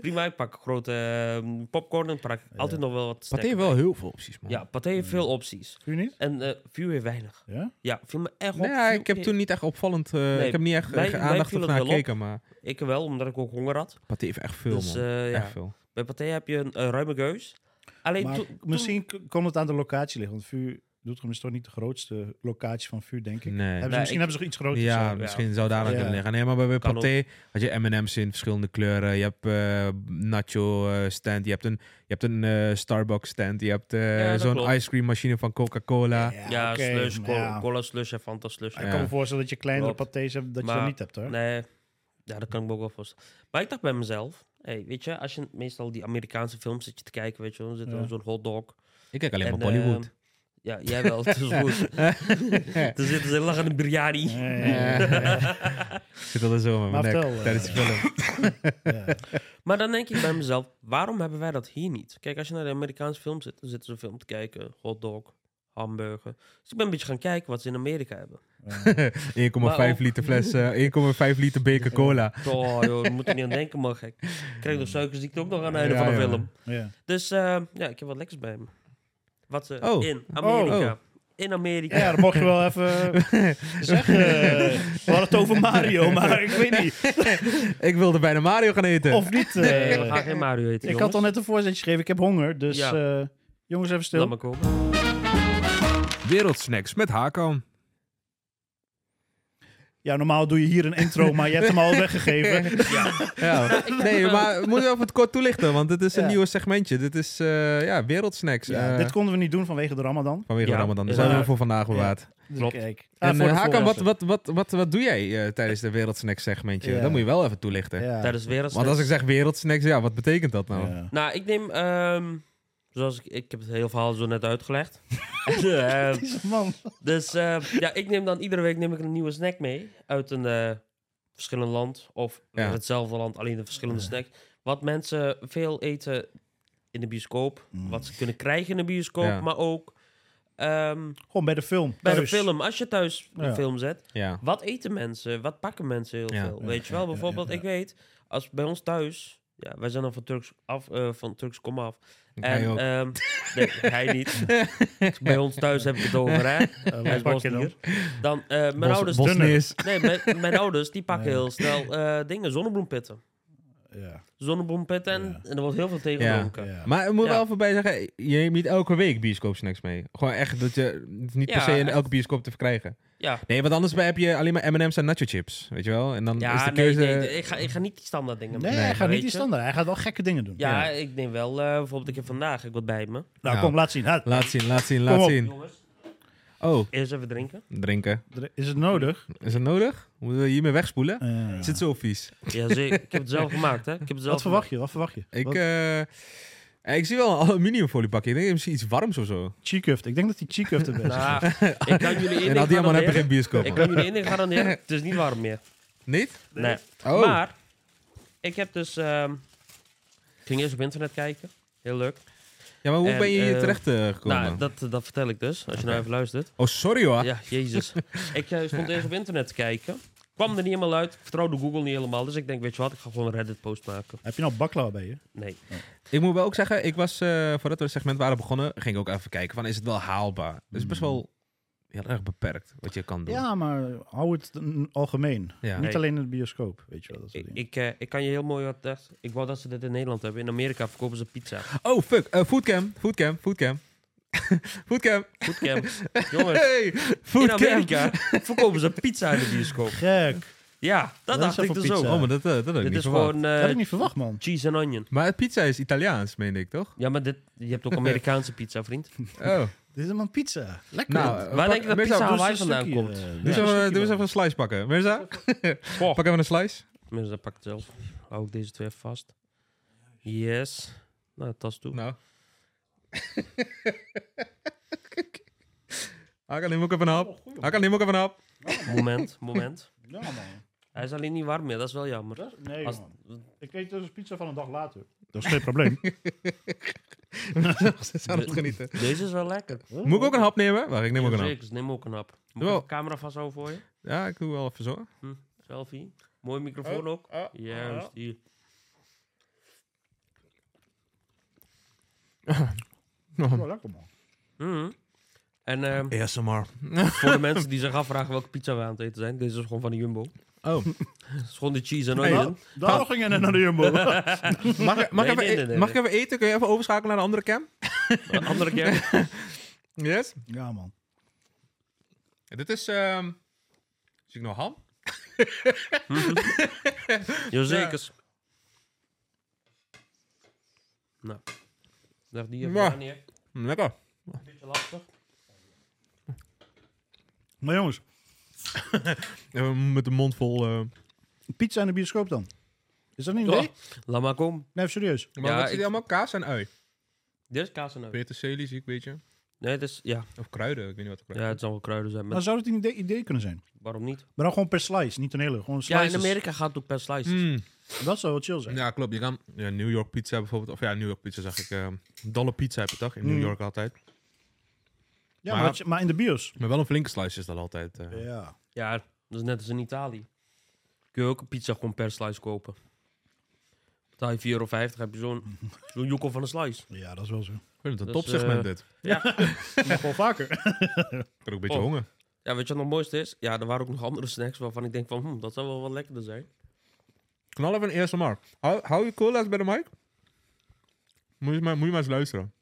Speaker 3: Prima, ik pak grote ehm, popcorn en pak altijd nog wel wat
Speaker 7: Pathé
Speaker 3: snacken
Speaker 7: heeft wel heel Mm. veel opties, man.
Speaker 3: bij. Ja, Pathé heeft veel opties.
Speaker 6: View niet?
Speaker 3: En eh vuur heeft weinig.
Speaker 6: Ja?
Speaker 3: Ja, viel me echt op.
Speaker 7: Nee, ja,
Speaker 3: Vuur-
Speaker 7: ik heb toen niet echt opvallend... eh, ik heb niet echt
Speaker 3: mij-
Speaker 7: eh,
Speaker 3: mij
Speaker 7: aandacht
Speaker 3: viel
Speaker 7: op
Speaker 3: het
Speaker 7: naar
Speaker 3: wel op.
Speaker 7: gekeken, maar...
Speaker 3: Ik wel, omdat ik ook honger had.
Speaker 7: Pathé heeft echt veel,
Speaker 3: Dus,
Speaker 7: man.
Speaker 3: eh, ja.
Speaker 7: Echt veel.
Speaker 3: Bij Pathé heb je een eh, ruime keus. Alleen
Speaker 6: Maar
Speaker 3: toen- toen-
Speaker 6: misschien k- kon het aan de locatie liggen. Want Vuur, Doetinchem is toch niet de grootste locatie van Vuur, denk ik.
Speaker 7: Nee.
Speaker 6: Hebben ze,
Speaker 3: Nee,
Speaker 6: misschien
Speaker 3: ik-
Speaker 6: hebben ze nog iets groter.
Speaker 7: Ja,
Speaker 3: zo,
Speaker 7: misschien zou daar aan
Speaker 6: Ja.
Speaker 7: kunnen liggen. Nee, maar bij, bij
Speaker 3: Kan
Speaker 7: Pathé had je M&M's in verschillende kleuren. Je hebt eh, nacho eh, stand. Je hebt een, je hebt een eh, Starbucks stand. Je hebt eh,
Speaker 3: Ja, dat
Speaker 7: zo'n
Speaker 3: klopt.
Speaker 7: ice cream machine van Coca-Cola. Ja,
Speaker 3: Ja,
Speaker 6: oké,
Speaker 3: slush,
Speaker 6: maar
Speaker 3: cola,
Speaker 6: ja.
Speaker 3: cola slush en Fanta slush.
Speaker 6: Ik kan me voorstellen dat je kleinere
Speaker 3: Klopt.
Speaker 6: patés hebt, dat je
Speaker 3: Maar-
Speaker 6: dat niet hebt, hoor.
Speaker 3: Nee, ja, dat kan ik me ook wel voorstellen. Maar ik dacht bij mezelf, hey, weet je, als je meestal die Amerikaanse films zit je te kijken, weet je, wel, dan zit er
Speaker 6: Ja.
Speaker 3: zo'n hotdog.
Speaker 7: Ik kijk alleen
Speaker 3: en,
Speaker 7: maar Bollywood.
Speaker 3: ehm, ja, jij wel, het is
Speaker 7: (laughs)
Speaker 3: goed. Dan zitten ze lachen in biryani.
Speaker 6: Nee, ja, ja, ja. (laughs)
Speaker 7: Ik Eh, (laughs) zit altijd zo met
Speaker 6: eh, Maar
Speaker 7: mijn nek
Speaker 6: vertel, eh,
Speaker 7: (laughs) tijdens
Speaker 6: (laughs)
Speaker 7: de film.
Speaker 6: Ja.
Speaker 3: Maar dan denk ik bij mezelf, waarom hebben wij dat hier niet? Kijk, als je naar de Amerikaanse film zit, dan zitten ze een film te kijken, hotdog, hamburger. Dus ik ben een beetje gaan kijken wat ze in Amerika hebben.
Speaker 7: 1,5 liter fles, eh, 1,5 liter beker cola.
Speaker 6: (laughs)
Speaker 3: Oh joh, daar moet je niet aan denken, man gek. Ik krijg nog suikerziekte ook nog aan het einde
Speaker 7: Hmm. Ja,
Speaker 3: van de
Speaker 7: ja.
Speaker 3: film.
Speaker 6: Ja.
Speaker 3: Dus eh, ja, ik heb wat lekkers bij me. Wat ze
Speaker 7: Oh.
Speaker 3: in Amerika.
Speaker 7: Oh.
Speaker 3: In Amerika.
Speaker 6: Ja, dat mocht je wel even zeggen. eh, We hadden het over Mario, maar ik weet niet.
Speaker 7: Ik wilde bijna Mario gaan eten.
Speaker 6: Of niet. eh.
Speaker 3: Nee, we gaan geen Mario eten,
Speaker 6: ik had al
Speaker 3: jongens.
Speaker 6: net een voorzetje gegeven. Ik heb honger, dus
Speaker 3: Ja.
Speaker 6: eh, jongens, even
Speaker 3: Laat
Speaker 6: stil.
Speaker 3: maar komen.
Speaker 7: Wereldsnacks met Hakan.
Speaker 6: Ja, normaal doe je hier een intro, maar je hebt
Speaker 3: (laughs)
Speaker 6: hem al weggegeven.
Speaker 7: Ja.
Speaker 6: (laughs)
Speaker 7: Nee, maar we moeten even het kort toelichten, want dit is een
Speaker 6: Ja.
Speaker 7: nieuw segmentje. Dit is eh, ja, wereldsnacks.
Speaker 6: Ja,
Speaker 7: eh,
Speaker 6: dit konden we niet doen vanwege de Ramadan.
Speaker 7: Vanwege
Speaker 3: Ja,
Speaker 7: Ramadan. Dus
Speaker 3: ja.
Speaker 7: zijn we voor vandaag bewaard.
Speaker 6: Dus
Speaker 3: Klopt.
Speaker 6: Kijk. Ah,
Speaker 7: En
Speaker 6: voor
Speaker 7: eh,
Speaker 6: de
Speaker 7: Hakan, wat,
Speaker 6: voorrassen.
Speaker 7: wat, wat, wat, wat doe jij eh, tijdens de Wereldsnacks segmentje?
Speaker 6: Ja.
Speaker 7: Dat moet je wel even toelichten.
Speaker 6: Ja.
Speaker 3: Dat is weer een
Speaker 7: Want als ik zeg Wereldsnacks, ja, wat betekent dat nou?
Speaker 6: Ja.
Speaker 3: Nou, ik neem... ehm, zoals ik... Ik heb het hele verhaal zo net
Speaker 6: (laughs)
Speaker 3: uitgelegd. Eh,
Speaker 6: Man.
Speaker 3: dus eh, ja, ik neem dan... Iedere week neem ik een nieuwe snack mee. Uit een eh, verschillend land. Of
Speaker 7: Ja.
Speaker 3: hetzelfde land, alleen een verschillende snack. Wat mensen Mm. veel eten in de bioscoop. Wat ze kunnen krijgen in de bioscoop.
Speaker 7: Mm. Ja.
Speaker 3: Maar ook... Ehm,
Speaker 6: Gewoon bij de film.
Speaker 3: bij de
Speaker 6: thuis.
Speaker 3: film, als je thuis
Speaker 6: Ja.
Speaker 3: een film zet,
Speaker 7: Ja.
Speaker 3: wat eten mensen? Wat pakken mensen heel
Speaker 7: Ja.
Speaker 3: veel? Weet je wel, bijvoorbeeld, ik weet, als bij ons thuis, ja, wij zijn dan van Turks af, eh, van Turks kom af.
Speaker 7: Hij ook.
Speaker 3: ehm, nee,
Speaker 6: (laughs)
Speaker 3: hij niet. Dus Bij ons thuis heb ik het over, hè?
Speaker 6: Eh, wat
Speaker 3: Hij is
Speaker 6: pak je dan?
Speaker 3: Bosnier. Dan, eh, mijn
Speaker 7: Bos-
Speaker 3: ouders...
Speaker 7: Bosniërs.
Speaker 3: Nee, mijn,
Speaker 6: (laughs)
Speaker 3: mijn ouders, die pakken heel snel eh, dingen, zonnebloempitten.
Speaker 6: Ja.
Speaker 3: Zonnebloempitten en,
Speaker 6: Ja.
Speaker 3: en er wordt heel veel tegen
Speaker 7: Ja.
Speaker 3: gedronken.
Speaker 6: Ja.
Speaker 7: Maar ik moet
Speaker 3: Ja.
Speaker 7: wel voorbij zeggen, je neemt niet elke week bioscoopsnacks mee. Gewoon echt, dat je het is niet per
Speaker 3: Ja,
Speaker 7: se in
Speaker 3: echt.
Speaker 7: elke bioscoop te verkrijgen.
Speaker 3: Ja.
Speaker 7: Nee, want anders heb je alleen maar M&M's en nacho chips, weet je wel? En dan
Speaker 3: Ja,
Speaker 7: is de
Speaker 3: nee,
Speaker 7: keuze...
Speaker 3: nee, nee, ik, ga, ik ga niet die standaard dingen
Speaker 6: Nee, hij
Speaker 3: maken,
Speaker 6: gaat
Speaker 3: weet
Speaker 6: niet die
Speaker 3: je.
Speaker 6: standaard. Hij gaat wel gekke dingen doen.
Speaker 3: Ja, ik neem wel, eh, bijvoorbeeld ik heb vandaag ik wat bij me.
Speaker 6: Nou,
Speaker 7: Nou.
Speaker 6: kom, laat zien. Ha,
Speaker 7: Laat zien, laat zien, laat
Speaker 6: op.
Speaker 7: zien.
Speaker 3: Jongens,
Speaker 7: Oh,
Speaker 3: eerst even drinken.
Speaker 7: drinken.
Speaker 6: Is het nodig?
Speaker 7: Is dat nodig? Moeten we hiermee wegspoelen?
Speaker 6: Eh,
Speaker 7: Is het zo vies?
Speaker 3: Ja, zeker. ik heb het
Speaker 6: (laughs)
Speaker 3: zelf gemaakt, hè. Ik heb het zelf
Speaker 6: wat verwacht je? Wat verwacht je?
Speaker 7: Ik,
Speaker 6: Wat-
Speaker 7: eh, ik zie wel een aluminiumfolie pakken. Ik denk misschien iets warms of zo.
Speaker 6: Cheekuft. Ik denk dat die cheekuft erbij
Speaker 3: (laughs)
Speaker 6: is.
Speaker 3: gemaakt. Nou, ik kan jullie één
Speaker 7: En al
Speaker 3: ding
Speaker 7: die allemaal hebben geen
Speaker 3: garanderen.
Speaker 7: bioscoop.
Speaker 3: Ik
Speaker 7: man.
Speaker 3: kan jullie één ding garanderen, het is niet warm meer.
Speaker 7: Niet?
Speaker 3: Nee.
Speaker 7: Oh.
Speaker 3: Maar, ik heb dus... ehm, ik ging eerst op internet kijken. Heel leuk.
Speaker 7: Ja, maar hoe
Speaker 3: En,
Speaker 7: ben je hier
Speaker 3: eh,
Speaker 7: terecht eh, gekomen?
Speaker 3: Nou, dat, dat vertel ik dus, als je nou even luistert.
Speaker 7: Oh, sorry hoor.
Speaker 3: Ja, jezus. ik eh, stond eerst op internet te kijken. Kwam er niet helemaal uit. Ik vertrouwde Google niet helemaal. Dus ik denk, weet je wat, ik ga gewoon een Reddit-post maken.
Speaker 6: Heb je nou baklava bij je?
Speaker 3: Nee.
Speaker 7: Ik moet wel ook zeggen, ik was, eh, voordat we het segment waren begonnen, ging ik ook even kijken van, is het wel haalbaar? Het is best wel heel erg beperkt wat je kan doen.
Speaker 6: Ja, maar hou het mm, algemeen.
Speaker 7: Ja.
Speaker 6: Niet
Speaker 3: Nee.
Speaker 6: alleen in de bioscoop, weet je wel. Dat soort
Speaker 3: Ik,
Speaker 6: dingen.
Speaker 3: ik, eh, ik kan je heel mooi wat echt. Ik wou dat ze dit in Nederland hebben. In Amerika verkopen ze pizza.
Speaker 7: Oh, fuck. eh, foodcam, foodcam, foodcam. (laughs) foodcam.
Speaker 3: Bootcamp. Jongens,
Speaker 7: Hey,
Speaker 3: in
Speaker 7: foodcam.
Speaker 3: Amerika verkopen ze pizza in de bioscoop.
Speaker 6: Gek.
Speaker 3: Ja, dat
Speaker 6: is
Speaker 3: dacht ik
Speaker 6: zoveel
Speaker 3: dus
Speaker 6: pizza.
Speaker 3: ook.
Speaker 7: Oh, maar dat, eh, dat had ik
Speaker 3: Dit
Speaker 7: niet
Speaker 3: is
Speaker 7: verwacht.
Speaker 3: gewoon eh,
Speaker 6: Dat had ik niet verwacht, man.
Speaker 3: cheese en onion.
Speaker 7: Maar pizza is Italiaans, meen ik, toch?
Speaker 3: Ja, maar dit, je hebt ook Amerikaanse pizza, vriend.
Speaker 7: Oh.
Speaker 6: Dit is een man pizza. Lekker.
Speaker 7: Nou, eh,
Speaker 3: Waar
Speaker 7: pak-
Speaker 3: denk je dat
Speaker 7: Mirza,
Speaker 3: pizza
Speaker 7: doe-
Speaker 3: Hawaii
Speaker 6: eens een
Speaker 3: vandaan
Speaker 6: stukje,
Speaker 3: komt?
Speaker 6: eh,
Speaker 7: Doe eens
Speaker 6: ja,
Speaker 7: even-
Speaker 6: een
Speaker 7: doe
Speaker 6: stukje
Speaker 7: eens even een slice pakken. Mirza, pak even een slice.
Speaker 3: Mensen, dat pak ik het zelf. Hou ik deze twee even vast. Yes. Nou, tas toe.
Speaker 7: Nou. (laughs) Hakan, neem ook even een
Speaker 3: Oh,
Speaker 7: hap. Hakan, neem ook even een hap. (laughs)
Speaker 3: Moment, moment.
Speaker 6: Ja, man.
Speaker 3: Hij is alleen niet warm meer, dat is wel jammer.
Speaker 6: Dat- Nee,
Speaker 3: Als-
Speaker 6: man. Ik eet dus pizza van een dag later. Dat is geen probleem.
Speaker 7: Ze zijn aan het genieten.
Speaker 3: Deze is wel lekker.
Speaker 7: Moet ik ook een hap nemen? Wacht, ik neem ook een hap.
Speaker 3: Zeker, dus neem ook een hap. Moet
Speaker 7: Doe wel.
Speaker 3: ik de camera vasthouden voor je?
Speaker 7: Ja, ik doe wel even zo.
Speaker 3: Selfie. Mooi microfoon ook. Juist, hier.
Speaker 6: Wel lekker, man.
Speaker 3: Mhm. En ehm,
Speaker 7: ASMR.
Speaker 3: voor de mensen die zich afvragen welke pizza we aan het eten zijn, deze is gewoon van de Jumbo. (laughs)
Speaker 7: Oh.
Speaker 3: Het is gewoon de cheese en
Speaker 6: Ja,
Speaker 3: onion.
Speaker 6: Daarom ging je net naar de Jumbo.
Speaker 7: Mag, ik- mag,
Speaker 3: Nee,
Speaker 7: ik even, e-
Speaker 3: nee, nee, nee,
Speaker 7: mag ik even eten? Kun je even overschakelen naar de andere cam?
Speaker 3: Een Andere
Speaker 7: (laughs)
Speaker 3: keer.
Speaker 7: Yes.
Speaker 6: ja, man.
Speaker 7: Dit is... ehm zie ik nog ham?
Speaker 3: Jazekers. Nou. Leg die even
Speaker 7: Ja.
Speaker 3: aan neer.
Speaker 7: Mm, Lekker.
Speaker 3: Beetje lastig.
Speaker 6: Maar jongens,
Speaker 7: Even met de mond vol... eh,
Speaker 6: pizza in de bioscoop dan? Is dat niet een
Speaker 3: Oh,
Speaker 6: idee?
Speaker 3: Laat maar komen.
Speaker 6: Nee, even serieus.
Speaker 7: Maar
Speaker 3: Ja,
Speaker 7: wat zit
Speaker 3: ik-
Speaker 7: er allemaal? Kaas en ui.
Speaker 3: Dit is kaas en ui.
Speaker 7: Peterselie zie ik, weet je.
Speaker 3: Nee, het is... Ja,
Speaker 7: Of kruiden, ik weet niet wat
Speaker 3: ja
Speaker 7: kruiden.
Speaker 3: het zal wel kruiden zijn.
Speaker 6: Maar
Speaker 3: Maar
Speaker 6: zou het een idee, idee kunnen zijn?
Speaker 3: waarom niet?
Speaker 6: Maar dan gewoon per slice, niet een hele. Gewoon
Speaker 3: Ja,
Speaker 6: slices.
Speaker 3: in Amerika gaat het ook per slices.
Speaker 7: Mm.
Speaker 6: Dat zou wel chill zijn.
Speaker 7: Ja, klopt. Je kan ja, New York pizza bijvoorbeeld. Of ja, New York pizza zag ik. eh dollar pizza heb je toch? In New
Speaker 6: Mm.
Speaker 7: York altijd.
Speaker 6: Ja,
Speaker 7: Maar-
Speaker 6: maar, het- maar in de bios.
Speaker 7: Maar wel een flinke slice is dat altijd. eh.
Speaker 6: Ja.
Speaker 3: Ja, dat is net als in Italië. Kun je ook een pizza gewoon per slice kopen. Betaal je 4,50 euro, heb je zo'n zo'n joekel van een slice.
Speaker 6: Ja, dat is wel zo.
Speaker 7: Ik vind het een
Speaker 3: Dat is,
Speaker 7: topsegment
Speaker 3: eh,
Speaker 7: dit. Ik
Speaker 6: Nog wel vaker. (laughs)
Speaker 7: heb ook een beetje
Speaker 3: oh.
Speaker 7: honger.
Speaker 3: Ja, weet je wat nog het mooiste is? Ja, er waren ook nog andere snacks waarvan ik denk van, hm, dat zou wel wat lekkerder zijn.
Speaker 7: Knal even een eerste maar. Hou, hou je cola bij de mic? Moet je, maar, moet je maar eens luisteren.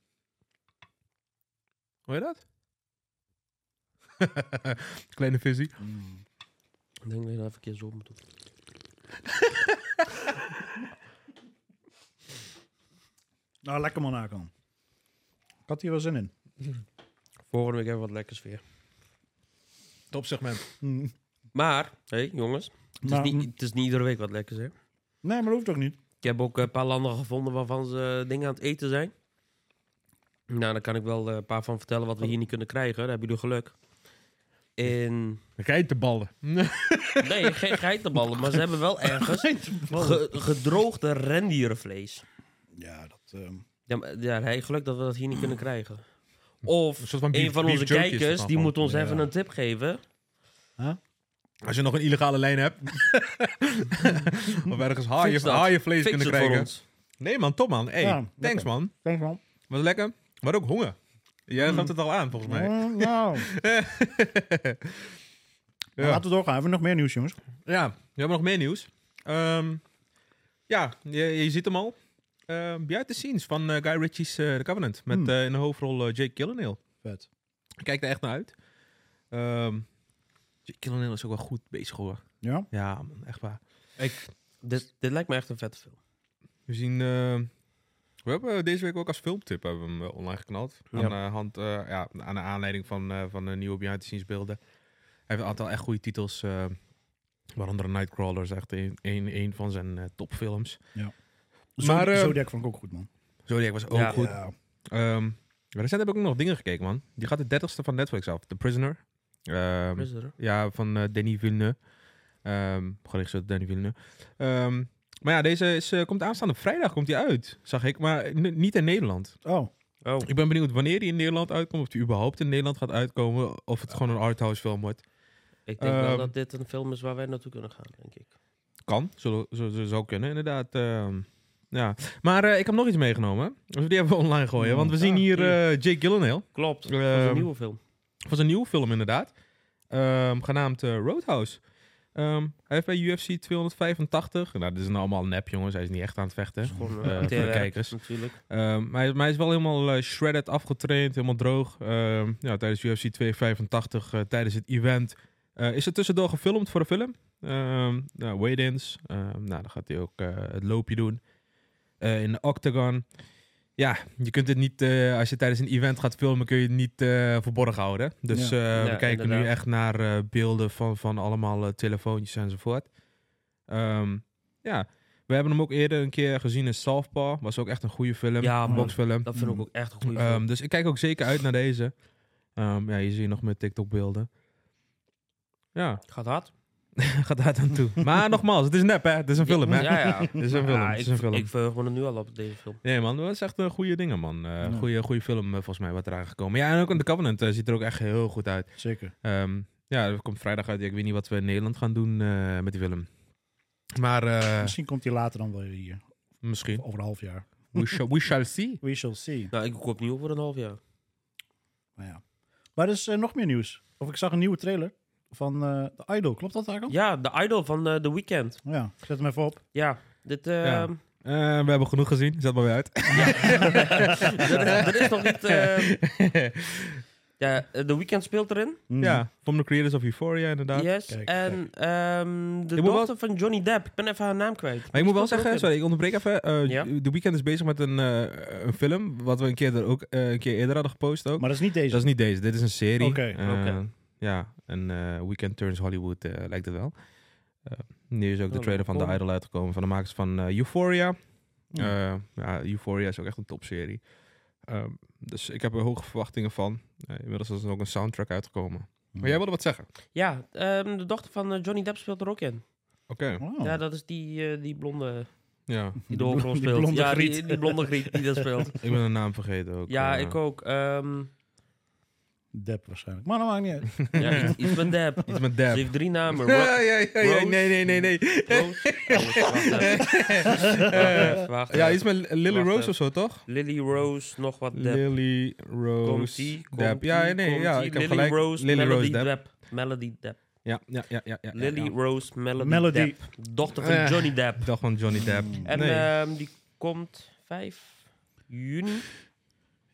Speaker 7: Hoor je dat? (laughs) Kleine visie.
Speaker 3: Ik denk dat je dat even een keer zo moet doen.
Speaker 6: nou, lekker man, Hakan. Ik had hier wel zin in.
Speaker 3: Volgende week hebben we wat lekkers weer.
Speaker 7: Topsegment.
Speaker 3: Maar, hé jongens, het is,
Speaker 6: Maar-
Speaker 3: niet, het is niet iedere week wat lekkers hè.
Speaker 6: Nee, maar dat hoeft ook niet.
Speaker 3: Ik heb ook eh, een paar landen gevonden waarvan ze eh, dingen aan het eten zijn. Nou, daar kan ik wel eh, een paar van vertellen wat we hier niet kunnen krijgen. Daar hebben jullie geluk. In...
Speaker 7: Geitenballen. (laughs)
Speaker 3: Nee, geen geitenballen, maar ze hebben wel ergens ge- gedroogde rendierenvlees.
Speaker 6: Ja, dat... ehm,
Speaker 3: Ja, maar, ja, hij geluk dat we dat hier niet kunnen krijgen. Of
Speaker 7: Een soort van beef-
Speaker 3: een van
Speaker 7: beef
Speaker 3: onze
Speaker 7: jerky is het
Speaker 3: kijkers
Speaker 7: dan
Speaker 3: die
Speaker 7: gewoon.
Speaker 3: moet ons
Speaker 7: Ja.
Speaker 3: even een tip geven.
Speaker 7: Als je nog een illegale lijn hebt.
Speaker 3: (laughs)
Speaker 7: (laughs) of ergens haaien,
Speaker 3: Fix dat.
Speaker 7: haaienvlees
Speaker 3: Fix
Speaker 7: ah, kunnen
Speaker 3: het voor
Speaker 7: krijgen.
Speaker 3: ons.
Speaker 7: Nee man, top man. Hey,
Speaker 6: Ja,
Speaker 7: thanks
Speaker 6: lekker.
Speaker 7: man.
Speaker 6: Denk wel.
Speaker 7: Was lekker. Maar ook honger. Jij gaf het al aan volgens
Speaker 6: (laughs)
Speaker 7: mij.
Speaker 6: Mm, nou.
Speaker 7: Ja.
Speaker 6: Laten we doorgaan. Hebben we nog meer nieuws, jongens?
Speaker 7: Ja, we hebben nog meer nieuws. Ehm, ja, je, je ziet hem al. Ehm behind the scenes van eh, Guy Ritchie's eh, The Covenant. Met
Speaker 6: Hmm.
Speaker 7: eh, in de hoofdrol eh, Jake Gyllenhaal.
Speaker 6: Vet.
Speaker 7: Ik kijk er echt naar uit. Ehm Jake Gyllenhaal is ook wel goed bezig hoor.
Speaker 6: Ja?
Speaker 7: Ja man, echt waar.
Speaker 3: Dit, dit lijkt me echt een vette film.
Speaker 7: We zien... eh, we hebben eh, deze week ook als filmtip hebben we hem eh, online geknald. Aan, de hand, eh, ja, aan de aanleiding van, eh, van de nieuwe behind the scenes beelden. Hij heeft een aantal echt goede titels. eh, waaronder Nightcrawler is echt een, een, een van zijn eh, topfilms. Maar,
Speaker 6: Maar,
Speaker 7: eh,
Speaker 6: Zodiac vond ik ook goed, man.
Speaker 7: Zodiac was ook
Speaker 3: Ja.
Speaker 7: goed.
Speaker 6: Ja.
Speaker 7: Ehm, maar recent heb ik ook nog dingen gekeken, man. Die gaat de 30ste van Netflix af. The Prisoner. Ehm,
Speaker 3: Is er?
Speaker 7: ja, van eh Denis Villeneuve. Ehm geregisseerd door Denis Villeneuve. Ehm, maar ja, deze is, eh, komt aanstaande vrijdag komt die uit, zag ik. Maar eh, n- niet in Nederland.
Speaker 6: Oh,
Speaker 3: Oh,
Speaker 7: Ik ben benieuwd wanneer die in Nederland uitkomt. Of die überhaupt in Nederland gaat uitkomen. Of het gewoon een arthouse film wordt.
Speaker 3: ik denk wel
Speaker 7: Ehm.
Speaker 3: dat dit een film is waar wij naartoe kunnen gaan, denk ik.
Speaker 7: Kan, zo, zo, zo zou kunnen inderdaad. Ehm, ja. Maar eh, ik heb nog iets meegenomen. Dus die hebben we online gooien. Want we zien hier eh, Jake Gyllenhaal.
Speaker 3: Klopt, dat is
Speaker 7: Ehm.
Speaker 3: een nieuwe film.
Speaker 7: was een nieuwe film inderdaad. Ehm, genaamd eh, Roadhouse. Ehm, hij heeft bij UFC 285... Nou, dit is nou allemaal nep, jongens. Hij is niet echt aan het vechten.
Speaker 3: Gewoon
Speaker 7: Eh,
Speaker 3: uh,
Speaker 7: voor de kijkers.
Speaker 3: natuurlijk.
Speaker 7: Ehm, maar, hij, maar hij is wel helemaal eh, shredded, afgetraind, helemaal droog. Ehm, ja, tijdens UFC 285, eh, tijdens het event, eh, is er tussendoor gefilmd voor de film. Ehm nou, weigh-ins. Ehm, nou, dan gaat hij ook eh, het loopje doen Eh, in de octagon. Ja, je kunt het niet, eh, als je tijdens een event gaat filmen, kun je het niet eh, verborgen houden. Dus
Speaker 6: Ja.
Speaker 7: eh, we
Speaker 3: Ja,
Speaker 7: kijken nu
Speaker 3: inderdaad.
Speaker 7: echt naar eh, beelden van, van allemaal eh, telefoontjes enzovoort. Ehm, ja, we hebben hem ook eerder een keer gezien in Southpaw. Was ook echt een goede film,
Speaker 3: Ja,
Speaker 7: een
Speaker 3: man.
Speaker 7: boxfilm.
Speaker 3: Dat vind ik ook echt een goede
Speaker 7: Ehm,
Speaker 3: film.
Speaker 7: dus ik kijk ook zeker uit naar deze. Ehm, ja, hier zie je nog met TikTok beelden.
Speaker 3: (laughs)
Speaker 7: Ja,
Speaker 3: Gaat hard.
Speaker 7: gaat daar aan toe. (laughs) Maar nogmaals, het is nep hè, het is een film hè.
Speaker 3: Ja, ja.
Speaker 7: (laughs) Het is een film,
Speaker 3: Ja,
Speaker 7: het is
Speaker 3: ik-
Speaker 7: een film.
Speaker 3: Ik verheug me er nu al op deze film.
Speaker 7: Nee man, dat is echt een goede dingen man. Eh
Speaker 6: Ja.
Speaker 7: goede, goede film eh, volgens mij wat eraan gekomen. Ja, en ook in The Covenant eh, ziet er ook echt heel goed uit.
Speaker 6: zeker.
Speaker 7: Ehm, ja, dat komt vrijdag uit. Ja, Ik weet niet wat we in Nederland gaan doen eh, met die film. Maar
Speaker 3: (laughs)
Speaker 7: eh,
Speaker 6: Misschien komt hij later dan wel hier.
Speaker 7: misschien.
Speaker 6: Over een half jaar.
Speaker 7: We shall, we shall see.
Speaker 6: We shall see.
Speaker 3: Nou, ik koop nieuw voor een half jaar.
Speaker 6: Maar ja. Maar er is eh, nog meer nieuws. Of ik zag een nieuwe trailer van eh The Idol. Klopt dat, Arkan?
Speaker 3: Ja, de Idol van eh, The Weeknd.
Speaker 6: Ja. Zet hem even op.
Speaker 3: Ja, dit... (laughs)
Speaker 7: Ja.
Speaker 3: ehm,
Speaker 7: Eh, we hebben genoeg gezien, zet maar weer uit.
Speaker 3: Er er is nog niet... ehm,
Speaker 7: (laughs)
Speaker 3: ja, eh, The Weeknd speelt erin.
Speaker 7: Ja, from the creators of Euphoria inderdaad.
Speaker 3: Yes.
Speaker 6: Kijk,
Speaker 3: en ehm, de
Speaker 7: Ik moet wel-
Speaker 3: dochter van Johnny Depp. Ik ben even haar naam kwijt.
Speaker 7: Maar ik moet wel zeggen,
Speaker 3: sorry.
Speaker 7: sorry, ik onderbreek even. eh,
Speaker 3: Ja?
Speaker 7: De Weeknd is bezig met een, eh, een film, wat we een keer, er ook, eh, een keer eerder hadden gepost ook.
Speaker 6: Maar dat is niet deze.
Speaker 7: Dat is niet deze, dit is een serie.
Speaker 6: Oké,
Speaker 7: Eh,
Speaker 3: oké.
Speaker 7: Ja, en eh, Weekend Turns Hollywood eh, lijkt het wel. Eh, nu is ook de
Speaker 3: Oh,
Speaker 7: trailer van The
Speaker 3: cool.
Speaker 7: Idol uitgekomen van de makers van eh, Euphoria.
Speaker 6: Ja.
Speaker 7: Eh, ja, Euphoria is ook echt een topserie. Ehm, dus ik heb er hoge verwachtingen van. Eh, inmiddels is er ook een soundtrack uitgekomen. Maar jij wilde wat zeggen?
Speaker 3: Ja, ehm, de dochter van eh, Johnny Depp speelt er ook in.
Speaker 7: Oké,
Speaker 6: Oh.
Speaker 3: Ja, dat is die, eh, die blonde
Speaker 7: ja.
Speaker 3: die de hoofdrol
Speaker 6: Die
Speaker 3: speelt.
Speaker 6: blonde
Speaker 3: ja, Die,
Speaker 6: griet.
Speaker 3: die blonde griet die dat
Speaker 7: (laughs)
Speaker 3: speelt.
Speaker 7: Ik ben de naam vergeten ook.
Speaker 3: Ja,
Speaker 7: eh.
Speaker 3: ik
Speaker 7: (laughs)
Speaker 3: ook. ehm,
Speaker 6: Depp waarschijnlijk. Maar dat maakt niet
Speaker 3: (laughs)
Speaker 6: uit.
Speaker 3: ja, iets, iets met Depp.
Speaker 7: Iets met
Speaker 3: Ze
Speaker 7: Dab.
Speaker 3: heeft drie
Speaker 7: (laughs)
Speaker 3: namen. Ro-
Speaker 7: Ja, ja, ja, ja,
Speaker 3: Rose.
Speaker 7: nee, nee, nee,
Speaker 3: (laughs)
Speaker 7: nee.
Speaker 3: Rose. Oh, wacht even.
Speaker 7: (laughs)
Speaker 3: Wacht even, wacht
Speaker 7: Ja,
Speaker 3: even.
Speaker 7: iets met Lily
Speaker 3: Wacht
Speaker 7: Rose
Speaker 3: even.
Speaker 7: of zo, toch?
Speaker 3: Lily Rose, nog wat Depp.
Speaker 7: Lily Rose
Speaker 3: Komt-ie,
Speaker 7: Depp.
Speaker 3: komt-ie,
Speaker 7: ja, nee, ja,
Speaker 3: komt-ie.
Speaker 7: ik heb
Speaker 3: Lily
Speaker 7: gelijk.
Speaker 3: Rose,
Speaker 7: Lily
Speaker 3: Melody
Speaker 7: Rose Depp.
Speaker 3: Melody Depp.
Speaker 7: Ja, ja, ja, ja, ja. ja,
Speaker 3: Lily
Speaker 7: ja.
Speaker 3: Rose Melody,
Speaker 6: Melody.
Speaker 3: Depp. Dochter van
Speaker 7: Eh.
Speaker 3: Johnny Depp.
Speaker 7: Ik dacht van Johnny Depp.
Speaker 3: En
Speaker 7: nee.
Speaker 3: ehm, die komt 5 juni.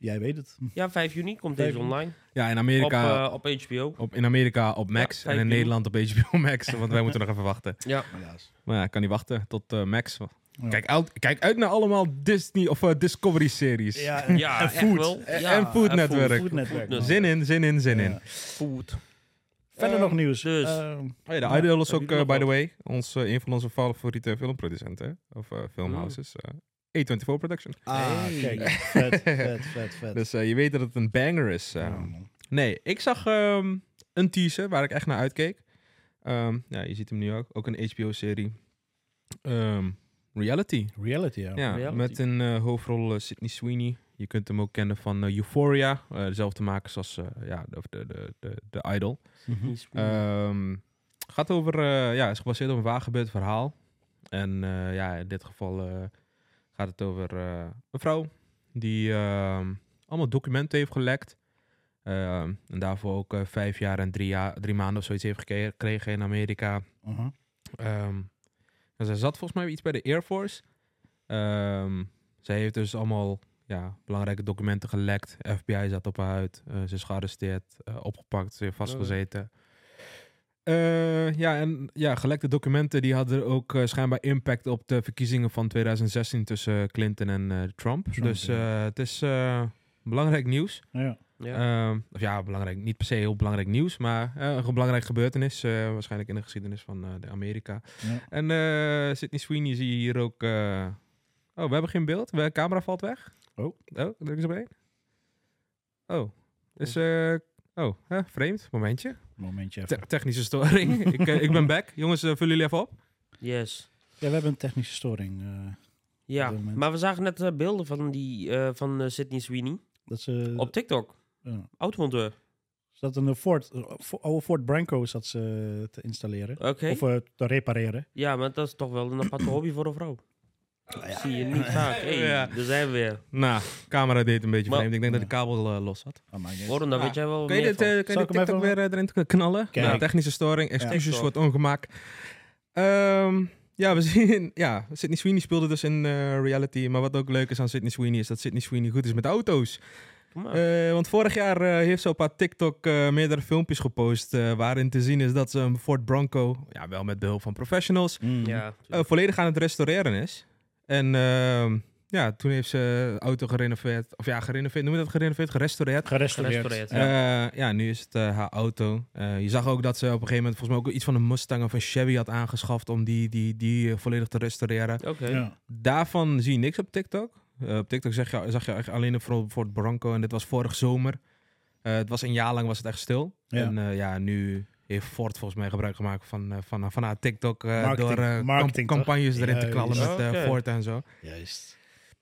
Speaker 6: Jij weet het.
Speaker 3: Ja, 5 juni komt
Speaker 6: Vijf
Speaker 3: deze
Speaker 6: juni.
Speaker 3: online.
Speaker 7: ja, in
Speaker 3: Op,
Speaker 7: Amerika. Op,
Speaker 3: eh, op HBO.
Speaker 7: in Amerika op Max
Speaker 3: vijf
Speaker 7: en in
Speaker 3: juni.
Speaker 7: Nederland op HBO
Speaker 3: (laughs)
Speaker 7: Max. Want wij moeten nog even wachten.
Speaker 3: Ja.
Speaker 6: Helaas.
Speaker 7: Maar ja, ik kan niet wachten tot eh, Max. Kijk, uit, kijk uit naar allemaal Disney of eh, Discovery
Speaker 6: (laughs) Ja,
Speaker 7: series.
Speaker 3: (laughs) Ja,
Speaker 6: en
Speaker 3: echt
Speaker 6: food.
Speaker 3: wel.
Speaker 7: En-
Speaker 3: Ja,
Speaker 7: en Food Network.
Speaker 6: Food Network.
Speaker 3: Food dus.
Speaker 7: Zin in, zin in, zin in.
Speaker 6: Ja.
Speaker 3: Food.
Speaker 6: Verder nog nieuws.
Speaker 3: dus.
Speaker 6: Ehm,
Speaker 7: Oh ja, de Idol is
Speaker 3: Ja,
Speaker 7: ook,
Speaker 3: die
Speaker 7: eh,
Speaker 3: nog
Speaker 7: by the
Speaker 3: wat.
Speaker 7: way, ons, eh, een van onze favoriete filmproducenten. hè? Of eh, filmhouses.
Speaker 3: Mm.
Speaker 7: eh, A24 Production.
Speaker 6: ah,
Speaker 3: (laughs)
Speaker 6: kijk. Vet, vet, vet, vet.
Speaker 7: Dus eh, je weet dat het een banger is. eh.
Speaker 6: Ja, man.
Speaker 7: Nee, ik zag ehm, een teaser waar ik echt naar uitkeek. Ehm, ja, je ziet hem nu ook. Ook een HBO-serie. reality. Ehm,
Speaker 6: Reality, ja.
Speaker 7: Ja,
Speaker 3: Reality.
Speaker 7: met een eh, hoofdrol eh, Sydney Sweeney. Je kunt hem ook kennen van eh, Euphoria. eh, dezelfde makers als eh, ja, de, de, de, de, de Idol. Ehm, gaat over, eh, ja, is gebaseerd op een waargebeurd verhaal. En eh, ja, in dit geval eh, gaat het over eh, een vrouw die ehm, allemaal documenten heeft gelekt. Ehm, en daarvoor ook eh, vijf jaar en drie, jaar, drie maanden of zoiets heeft geke- gekregen in Amerika.
Speaker 6: Aha.
Speaker 7: Ehm, en zij zat volgens mij iets bij de Air Force. Ehm, zij heeft dus allemaal ja, belangrijke documenten gelekt. FBI zat op haar huid. Eh, ze is gearresteerd, eh, opgepakt, ze heeft vastgezeten. Eh, ja, en ja, gelekte documenten die hadden ook eh, schijnbaar impact op de verkiezingen van 2016 tussen Clinton en eh, Trump.
Speaker 6: Trump,
Speaker 7: Dus
Speaker 6: ja.
Speaker 7: eh, het is eh, belangrijk nieuws.
Speaker 6: Ja.
Speaker 3: Ja.
Speaker 7: Ehm, of ja, belangrijk, niet per se heel belangrijk nieuws, maar eh, een belangrijk gebeurtenis. eh, waarschijnlijk in de geschiedenis van eh, de Amerika.
Speaker 6: Ja.
Speaker 7: En eh Sydney Sweeney zie je hier ook. eh, Oh, we hebben geen beeld. De camera valt weg.
Speaker 6: Oh.
Speaker 7: Oh, druk eens op één. Oh, is. eh, oh, hè, vreemd. Momentje.
Speaker 6: Momentje even.
Speaker 7: Te- technische storing. ik, eh, ik ben back. Jongens, eh, vullen jullie even op?
Speaker 3: Yes.
Speaker 6: Ja, we hebben een technische storing. eh,
Speaker 3: Ja,
Speaker 6: Op dit moment.
Speaker 3: maar we zagen net eh, beelden van, die, eh, van eh, Sydney Sweeney
Speaker 6: dat ze,
Speaker 3: op TikTok.
Speaker 6: Eh. ja.
Speaker 3: Automonteur.
Speaker 6: Ze zat een Ford, eh, fo- oude Ford Branco zat ze te installeren.
Speaker 3: Oké.
Speaker 6: Of eh, te repareren.
Speaker 3: Ja, maar dat is toch wel een aparte hobby voor een vrouw. Zie je niet vaak. Hey,
Speaker 7: Ah, Ja.
Speaker 3: daar zijn we weer.
Speaker 7: Nou, camera deed een beetje
Speaker 3: Maar-
Speaker 7: vreemd. Ik denk dat de kabel eh, los zat.
Speaker 6: Ah, maar niet uit.
Speaker 3: Warren, dan weet jij wel
Speaker 7: Kun je
Speaker 3: meer
Speaker 7: dit, eh,
Speaker 3: van.
Speaker 7: kun je
Speaker 6: Zal
Speaker 7: dit
Speaker 6: ik hem
Speaker 7: TikTok
Speaker 6: even-
Speaker 7: weer eh, erin te knallen?
Speaker 6: Kijk.
Speaker 7: Nou, technische storing, excuses voor het ongemak. Ehm, ja, we (laughs) zien, ja, Sydney Sweeney speelde dus in eh, reality. Maar wat ook leuk is aan Sydney Sweeney is dat Sydney Sweeney goed is met auto's.
Speaker 3: Kom maar.
Speaker 7: Eh, want vorig jaar eh, heeft ze op haar TikTok eh, meerdere filmpjes gepost. eh, waarin te zien is dat ze een Ford Bronco, ja, wel met behulp van professionals,
Speaker 3: ja,
Speaker 7: eh, volledig aan het restaureren is. En ehm, ja, toen heeft ze de auto gerenoveerd. Of ja, gerenoveerd, noem je dat gerenoveerd? Gerestaureerd.
Speaker 6: Gerestaureerd.
Speaker 3: gerestaureerd.
Speaker 7: Eh, Ja. nu is het eh, haar auto. Eh, je zag ook dat ze op een gegeven moment volgens mij ook iets van een Mustang of een Chevy had aangeschaft om die, die, die eh, volledig te restaureren.
Speaker 3: Oké.
Speaker 6: Ja.
Speaker 7: Daarvan zie je niks op TikTok. Eh, op TikTok zag je, zag je echt alleen een Ford Ford Bronco en dit was vorig zomer. Eh, het was een jaar lang was het echt stil.
Speaker 6: Ja.
Speaker 7: En eh, ja, nu heeft Ford volgens mij gebruik gemaakt van, eh, van, van haar TikTok eh,
Speaker 6: Marketing-
Speaker 7: door eh, kamp-
Speaker 6: marketing, toch?
Speaker 7: campagnes erin te
Speaker 6: Juist.
Speaker 7: knallen met eh,
Speaker 3: Oké.
Speaker 7: Ford en zo.
Speaker 6: Juist.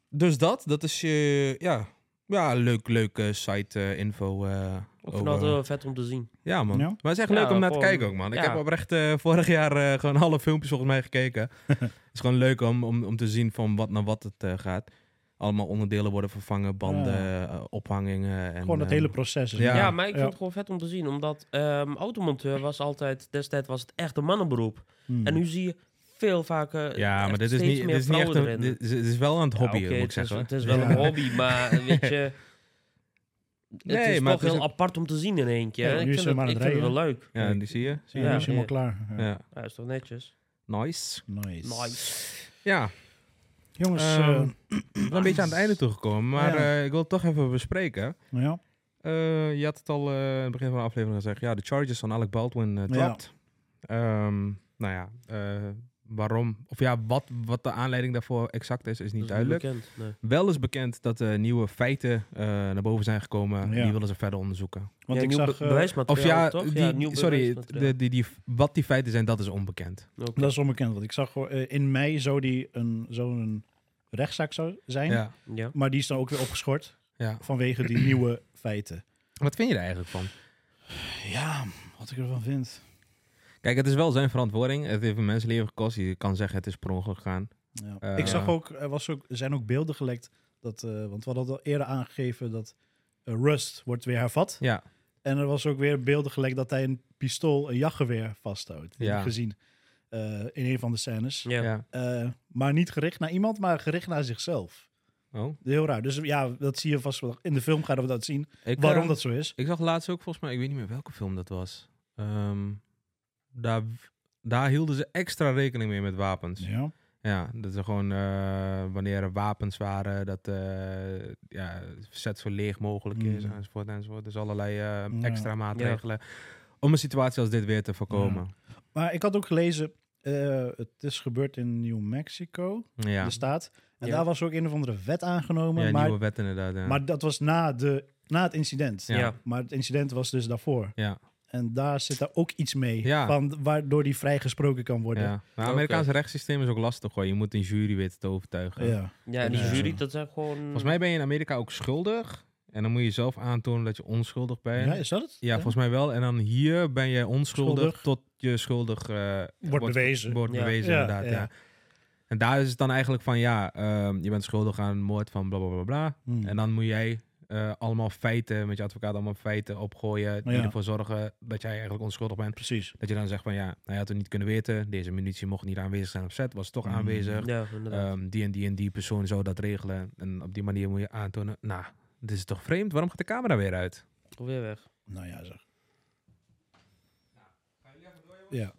Speaker 7: Dus dat, dat is je, ja, ja, leuk, leuk eh, site eh, info. eh,
Speaker 3: Ik
Speaker 7: over-
Speaker 3: vind dat wel nou, vet om te zien.
Speaker 7: ja, man.
Speaker 6: Ja?
Speaker 7: Maar het is echt
Speaker 3: Ja,
Speaker 7: leuk om naar te
Speaker 3: gewoon-
Speaker 7: kijken ook, man. Ik
Speaker 3: ja.
Speaker 7: heb oprecht eh, vorig jaar eh, gewoon alle filmpjes volgens
Speaker 6: (laughs)
Speaker 7: mij gekeken. het is gewoon leuk om, om, om te zien van wat naar wat het eh, gaat. Allemaal onderdelen worden vervangen, banden, eh, ophangingen. En,
Speaker 6: Gewoon dat
Speaker 7: eh,
Speaker 6: hele proces. is-
Speaker 7: Ja.
Speaker 3: Ja, maar ik
Speaker 6: Ja.
Speaker 3: vind het gewoon vet om te zien. Omdat ehm, automonteur was altijd, destijds was het echt een mannenberoep.
Speaker 6: Hmm.
Speaker 3: En nu zie je veel vaker
Speaker 7: Ja,
Speaker 3: echt
Speaker 7: maar dit is
Speaker 3: steeds
Speaker 7: niet,
Speaker 3: meer
Speaker 7: dit is niet echt
Speaker 3: vrouwen
Speaker 7: een...
Speaker 3: erin.
Speaker 7: Dit is, dit is wel aan het
Speaker 3: Ja,
Speaker 7: hobby,
Speaker 3: oké,
Speaker 7: moet ik
Speaker 3: het is-
Speaker 7: zeggen.
Speaker 3: Het is wel
Speaker 6: Ja.
Speaker 3: een hobby,
Speaker 7: (laughs)
Speaker 3: maar weet je... Het
Speaker 7: Nee,
Speaker 3: is
Speaker 7: maar
Speaker 3: toch
Speaker 7: het is
Speaker 3: heel
Speaker 7: ook-
Speaker 3: apart om te zien in één keer.
Speaker 6: Ja, nu
Speaker 3: ik
Speaker 6: is
Speaker 3: vind,
Speaker 6: ze
Speaker 3: het,
Speaker 6: maar aan
Speaker 3: ik
Speaker 6: het
Speaker 3: vind het wel leuk.
Speaker 7: Ja, die zie je. Zie je?
Speaker 6: Ja, nu
Speaker 7: Ja.
Speaker 6: is hij helemaal klaar. Ja.
Speaker 3: Ja, is toch netjes?
Speaker 7: Nice.
Speaker 6: Nice.
Speaker 3: Nice.
Speaker 7: Ja,
Speaker 6: Jongens,
Speaker 7: Ehm,
Speaker 6: eh,
Speaker 7: we zijn een beetje aan
Speaker 6: (clears throat)
Speaker 7: het einde toegekomen, maar
Speaker 6: Ja.
Speaker 7: eh, ik wil het toch even bespreken.
Speaker 6: ja.
Speaker 7: Eh, je had het al eh, aan het begin van de aflevering gezegd. Ja, de charges van Alec Baldwin eh dropped. Ehm, nou ja, eh, waarom? Of ja, wat, wat de aanleiding daarvoor exact is, is niet duidelijk.
Speaker 3: Bekend. Nee.
Speaker 7: Wel is bekend dat er nieuwe feiten eh, naar boven zijn gekomen.
Speaker 6: Ja.
Speaker 7: Die willen ze verder onderzoeken.
Speaker 6: Want
Speaker 3: ja,
Speaker 6: ik zag...
Speaker 3: nieuw be-
Speaker 6: eh,
Speaker 7: Of
Speaker 3: bewijsmateriaal,
Speaker 7: ja,
Speaker 3: toch?
Speaker 7: die,
Speaker 3: nieuw
Speaker 7: sorry,
Speaker 3: bewijsmateriaal.
Speaker 7: de, die, die, wat die feiten zijn, dat is onbekend.
Speaker 3: Oké.
Speaker 6: dat is onbekend, want ik zag gewoon, eh, in mei zou die een, zo'n rechtszaak zou zijn.
Speaker 7: Ja.
Speaker 3: Ja.
Speaker 6: Maar die is dan ook weer opgeschort
Speaker 7: Ja.
Speaker 6: vanwege
Speaker 7: (clears throat)
Speaker 6: die nieuwe feiten.
Speaker 7: Wat vind je er eigenlijk van?
Speaker 6: Ja, wat ik ervan vind.
Speaker 7: Kijk, het is wel zijn verantwoording. Het heeft een mensenleven gekost. Je kan zeggen, het is per ongeluk gegaan.
Speaker 6: Ja.
Speaker 7: Eh,
Speaker 6: ik zag
Speaker 7: ja.
Speaker 6: ook, er was ook, er zijn ook beelden gelekt. Dat, eh, want we hadden al eerder aangegeven dat eh, Rust wordt weer hervat.
Speaker 7: Ja,
Speaker 6: En er was ook weer beelden gelekt dat hij een pistool, een jachtgeweer vasthoudt. Die
Speaker 7: Ja.
Speaker 6: heb ik gezien eh, in een van de scènes.
Speaker 3: Ja.
Speaker 7: ja.
Speaker 6: Eh, maar niet gericht naar iemand, maar gericht naar zichzelf.
Speaker 7: Oh,
Speaker 6: Heel raar. Dus ja, dat zie je vast wel. In de film gaan we dat zien.
Speaker 7: ik,
Speaker 6: waarom
Speaker 7: eh,
Speaker 6: dat zo is.
Speaker 7: Ik zag laatst ook volgens mij, ik weet niet meer welke film dat was. Ehm, daar, daar hielden ze extra rekening mee met wapens. Ja,
Speaker 6: Ja.
Speaker 7: dat er gewoon eh, wanneer er wapens waren, dat eh ja, verzet zo leeg mogelijk is,
Speaker 6: Mm.
Speaker 7: enzovoort, enzovoort. Dus allerlei eh,
Speaker 6: Ja.
Speaker 7: extra maatregelen om een situatie als dit weer te voorkomen.
Speaker 6: Maar ik had ook gelezen, eh, het is gebeurd in New Mexico,
Speaker 7: Ja,
Speaker 6: de staat. En
Speaker 3: Ja.
Speaker 6: daar was ook een of andere wet aangenomen.
Speaker 7: Ja,
Speaker 6: Dus- maar,
Speaker 7: nieuwe wet inderdaad. Ja.
Speaker 6: maar dat was na, de, na het incident.
Speaker 7: Ja.
Speaker 6: Maar het incident was dus daarvoor.
Speaker 7: Ja.
Speaker 6: En daar zit daar ook iets mee,
Speaker 7: Ja.
Speaker 6: van, waardoor die vrijgesproken kan worden.
Speaker 7: Ja. Maar het Amerikaanse rechtssysteem is ook lastig hoor. Je moet een jury weten te overtuigen.
Speaker 6: Ja.
Speaker 3: Ja, en die
Speaker 6: Ja.
Speaker 3: jury, dat zijn gewoon...
Speaker 7: eh, Volgens mij ben je in Amerika ook schuldig. En dan moet je zelf aantonen dat je onschuldig bent.
Speaker 6: Ja,
Speaker 7: Ja,
Speaker 6: is dat het?
Speaker 7: volgens mij wel. En dan hier ben je onschuldig
Speaker 6: Schuldig.
Speaker 7: tot je schuldig eh,
Speaker 6: bewezen.
Speaker 7: Wordt
Speaker 3: Ja.
Speaker 7: bewezen,
Speaker 6: Ja,
Speaker 7: inderdaad.
Speaker 6: ja.
Speaker 7: Ja. En daar is het dan eigenlijk van ja, ehm, je bent schuldig aan moord van bla bla bla bla.
Speaker 6: Hmm.
Speaker 7: En dan moet jij eh, allemaal feiten met je advocaat allemaal feiten opgooien. Die
Speaker 6: Oh, Ja.
Speaker 7: ervoor zorgen dat jij eigenlijk onschuldig bent.
Speaker 6: Precies.
Speaker 7: Dat je dan zegt van ja, hij had het niet kunnen weten. Deze munitie mocht niet aanwezig zijn op set, was
Speaker 6: Hmm.
Speaker 7: toch aanwezig.
Speaker 3: Ja, inderdaad.
Speaker 7: Ehm, die en die en die persoon zou dat regelen. En op die manier moet je aantonen. Nou, dit is toch vreemd? Waarom gaat de camera weer uit?
Speaker 3: Kom weer weg.
Speaker 6: Nou ja, zeg. Ja.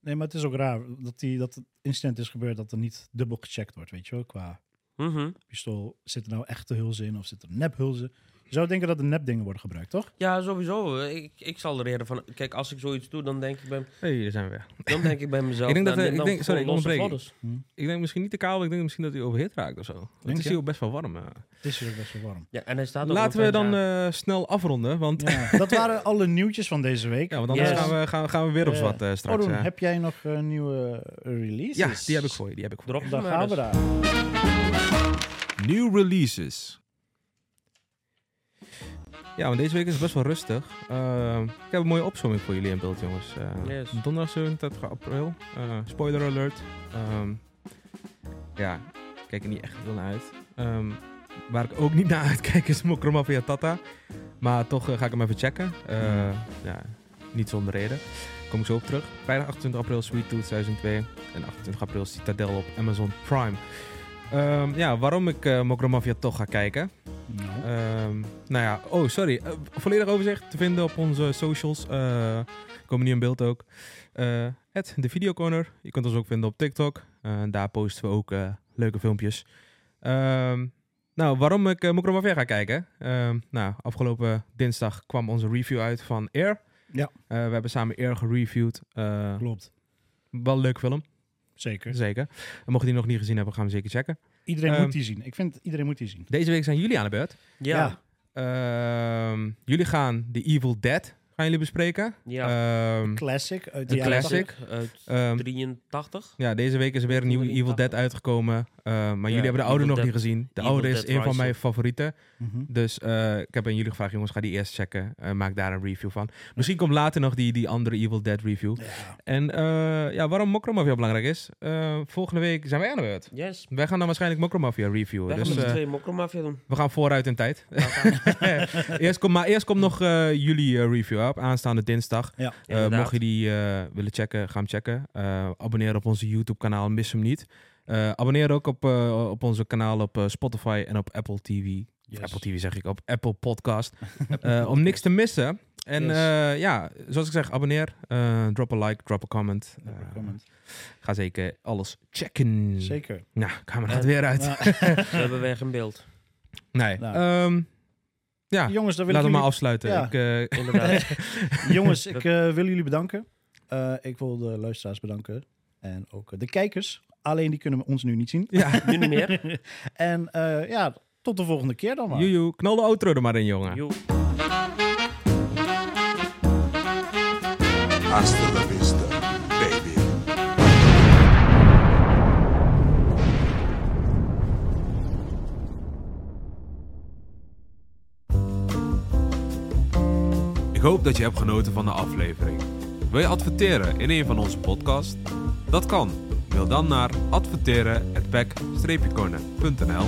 Speaker 6: Nee, maar het is ook raar dat, die, dat het incident is gebeurd dat er niet dubbel gecheckt wordt, weet je wel, qua
Speaker 3: Mhm.
Speaker 6: pistool. Zit er nou echte hulzen in of zit er nephulzen? Je zou denken dat er nepdingen worden gebruikt, toch?
Speaker 3: Ja, sowieso. Ik, ik zal er eerder van... Kijk, als ik zoiets doe, dan denk ik
Speaker 7: (laughs)
Speaker 3: bij,
Speaker 7: Hé, daar zijn we weer.
Speaker 3: dan denk ik bij mezelf...
Speaker 7: Ik denk dat,
Speaker 3: nou,
Speaker 7: eh,
Speaker 3: neem
Speaker 7: ik
Speaker 3: dan
Speaker 7: denk- sorry,
Speaker 3: gewoon
Speaker 7: ik
Speaker 3: losse
Speaker 7: onderbreek
Speaker 3: vlodders.
Speaker 7: Ik denk misschien niet te kaal, maar ik denk misschien dat hij overhit raakt of zo. Want
Speaker 6: Denk
Speaker 7: het is
Speaker 6: je?
Speaker 7: hier ook best wel warm. eh.
Speaker 6: Het is hier ook best wel warm.
Speaker 3: Ja, en hij staat ook
Speaker 7: Laten
Speaker 3: op
Speaker 7: we
Speaker 3: zijn
Speaker 7: dan
Speaker 3: raam.
Speaker 7: eh, snel afronden, want, ja.
Speaker 6: Ja, (laughs) dat waren alle nieuwtjes van deze week.
Speaker 7: want anders
Speaker 3: Yes.
Speaker 7: gaan, we, gaan, gaan we weer op
Speaker 6: Eh,
Speaker 7: zwart eh, straks.
Speaker 6: Odon,
Speaker 7: eh.
Speaker 6: heb jij nog eh, nieuwe releases?
Speaker 7: ja, die heb ik voor je. Die heb ik voor
Speaker 3: Drop
Speaker 6: Daar
Speaker 3: maar
Speaker 6: gaan we
Speaker 3: eens.
Speaker 6: daar.
Speaker 7: je. New releases. Ja, want deze week is het best wel rustig. Eh, ik heb een mooie opzomming voor jullie in beeld, jongens. Eh,
Speaker 3: Yes.
Speaker 7: Donderdag 27 april. Eh, spoiler alert. Ehm, ja, ik kijk er niet echt veel naar uit. Ehm, waar ik ook niet naar (laughs) uitkijk is Mokromafia Tata. Maar toch eh, ga ik hem even checken. Eh, ja, niet zonder reden. Kom ik zo op terug. Vrijdag 28 april Sweet Tooth 2002. En 28 april Citadel op Amazon Prime. Ehm, ja, waarom ik eh Mokromafia toch ga kijken.
Speaker 6: Nou,
Speaker 7: Ehm, nou ja, oh sorry. Eh, volledig overzicht te vinden op onze socials. Eh, komen nu in beeld ook. Eh het de Videocorner. Je kunt ons ook vinden op TikTok. Eh, daar posten we ook eh, leuke filmpjes. Ehm, nou, waarom ik uh, Mokromafia ga kijken? Ehm, nou, afgelopen dinsdag kwam onze review uit van Air.
Speaker 6: Ja.
Speaker 7: Eh, we hebben samen Air gereviewd. Eh,
Speaker 6: klopt.
Speaker 7: wel een leuk film,
Speaker 6: Zeker.
Speaker 7: zeker. En mocht je die nog niet gezien hebben, gaan we hem zeker checken.
Speaker 6: Iedereen
Speaker 7: Dus, Ehm,
Speaker 6: moet die zien. Ik vind iedereen moet die zien.
Speaker 7: Deze week zijn jullie aan de beurt.
Speaker 3: Ja, ja.
Speaker 7: Ehm, jullie gaan The Evil Dead gaan jullie bespreken. Ehm,
Speaker 6: Classic uit de,
Speaker 3: De
Speaker 6: jaren
Speaker 7: classic.
Speaker 6: 80.
Speaker 3: Uit
Speaker 7: ehm,
Speaker 3: 83.
Speaker 7: ja, deze week is er weer een nieuwe Evil
Speaker 3: 180.
Speaker 7: Dead uitgekomen. Ehm, maar jullie hebben de
Speaker 3: Evil
Speaker 7: oude nog
Speaker 3: Dead-
Speaker 7: niet gezien. De
Speaker 3: Evil
Speaker 7: oude is
Speaker 3: Dead
Speaker 7: een van
Speaker 3: Rising.
Speaker 7: mijn favorieten.
Speaker 6: Mhm.
Speaker 7: Dus eh, ik heb aan jullie gevraagd, jongens, ga die eerst checken. Eh, maak daar een review van. Misschien komt later nog die, die andere Evil Dead review.
Speaker 6: Ja.
Speaker 7: En eh, ja, waarom Mokromafia belangrijk is. eh, volgende week zijn wij aan de beurt.
Speaker 3: Yes.
Speaker 7: Wij gaan dan waarschijnlijk Mokromafia reviewen.
Speaker 3: Wij gaan
Speaker 7: dus
Speaker 3: met de
Speaker 7: eh,
Speaker 3: twee mokromafia doen.
Speaker 7: we gaan vooruit in tijd. (laughs) eerst kom, maar eerst komt nog eh, jullie eh, review op aanstaande dinsdag.
Speaker 6: Ja.
Speaker 7: Eh,
Speaker 3: Inderdaad.
Speaker 7: mocht je die eh, willen checken, ga hem checken. Eh, abonneer op onze YouTube-kanaal, mis hem niet. Eh, abonneer ook op, eh, op onze kanaal op eh, Spotify en op Apple TV.
Speaker 6: Yes.
Speaker 7: Apple TV zeg ik, op Apple
Speaker 6: (laughs)
Speaker 7: Podcast. Eh, om niks te missen. En
Speaker 6: Yes.
Speaker 7: eh, ja, zoals ik zeg, abonneer. Eh, drop een like, drop een comment.
Speaker 6: Lekker
Speaker 7: Eh,
Speaker 6: comment.
Speaker 7: ga zeker alles checken. (laughs)
Speaker 6: Zeker.
Speaker 7: Nou, camera gaat weer uit.
Speaker 6: Nou, (laughs)
Speaker 3: We hebben weg in beeld.
Speaker 7: nee.
Speaker 6: Nou.
Speaker 7: Ehm, ja,
Speaker 6: jongens, dan wil
Speaker 7: laten
Speaker 6: ik
Speaker 7: we maar
Speaker 6: jullie...
Speaker 7: afsluiten.
Speaker 6: Ja.
Speaker 7: Ik, eh,
Speaker 3: Inderdaad.
Speaker 6: Jongens, ik eh, wil jullie bedanken. Eh, ik wil de luisteraars bedanken. En ook eh, de kijkers. Alleen die kunnen ons nu niet zien.
Speaker 7: ja,
Speaker 3: nu niet meer.
Speaker 7: (laughs)
Speaker 6: En eh, ja, tot de volgende keer dan maar.
Speaker 7: (laughs) joejoe. Knal de outro er maar in, jongen.
Speaker 3: Joe.
Speaker 8: Hasta la vista, baby.
Speaker 9: Ik hoop dat je hebt genoten van de aflevering. Wil je adverteren in een van onze podcasts? Dat kan. Mail dan naar adverteren@pack-corner.nl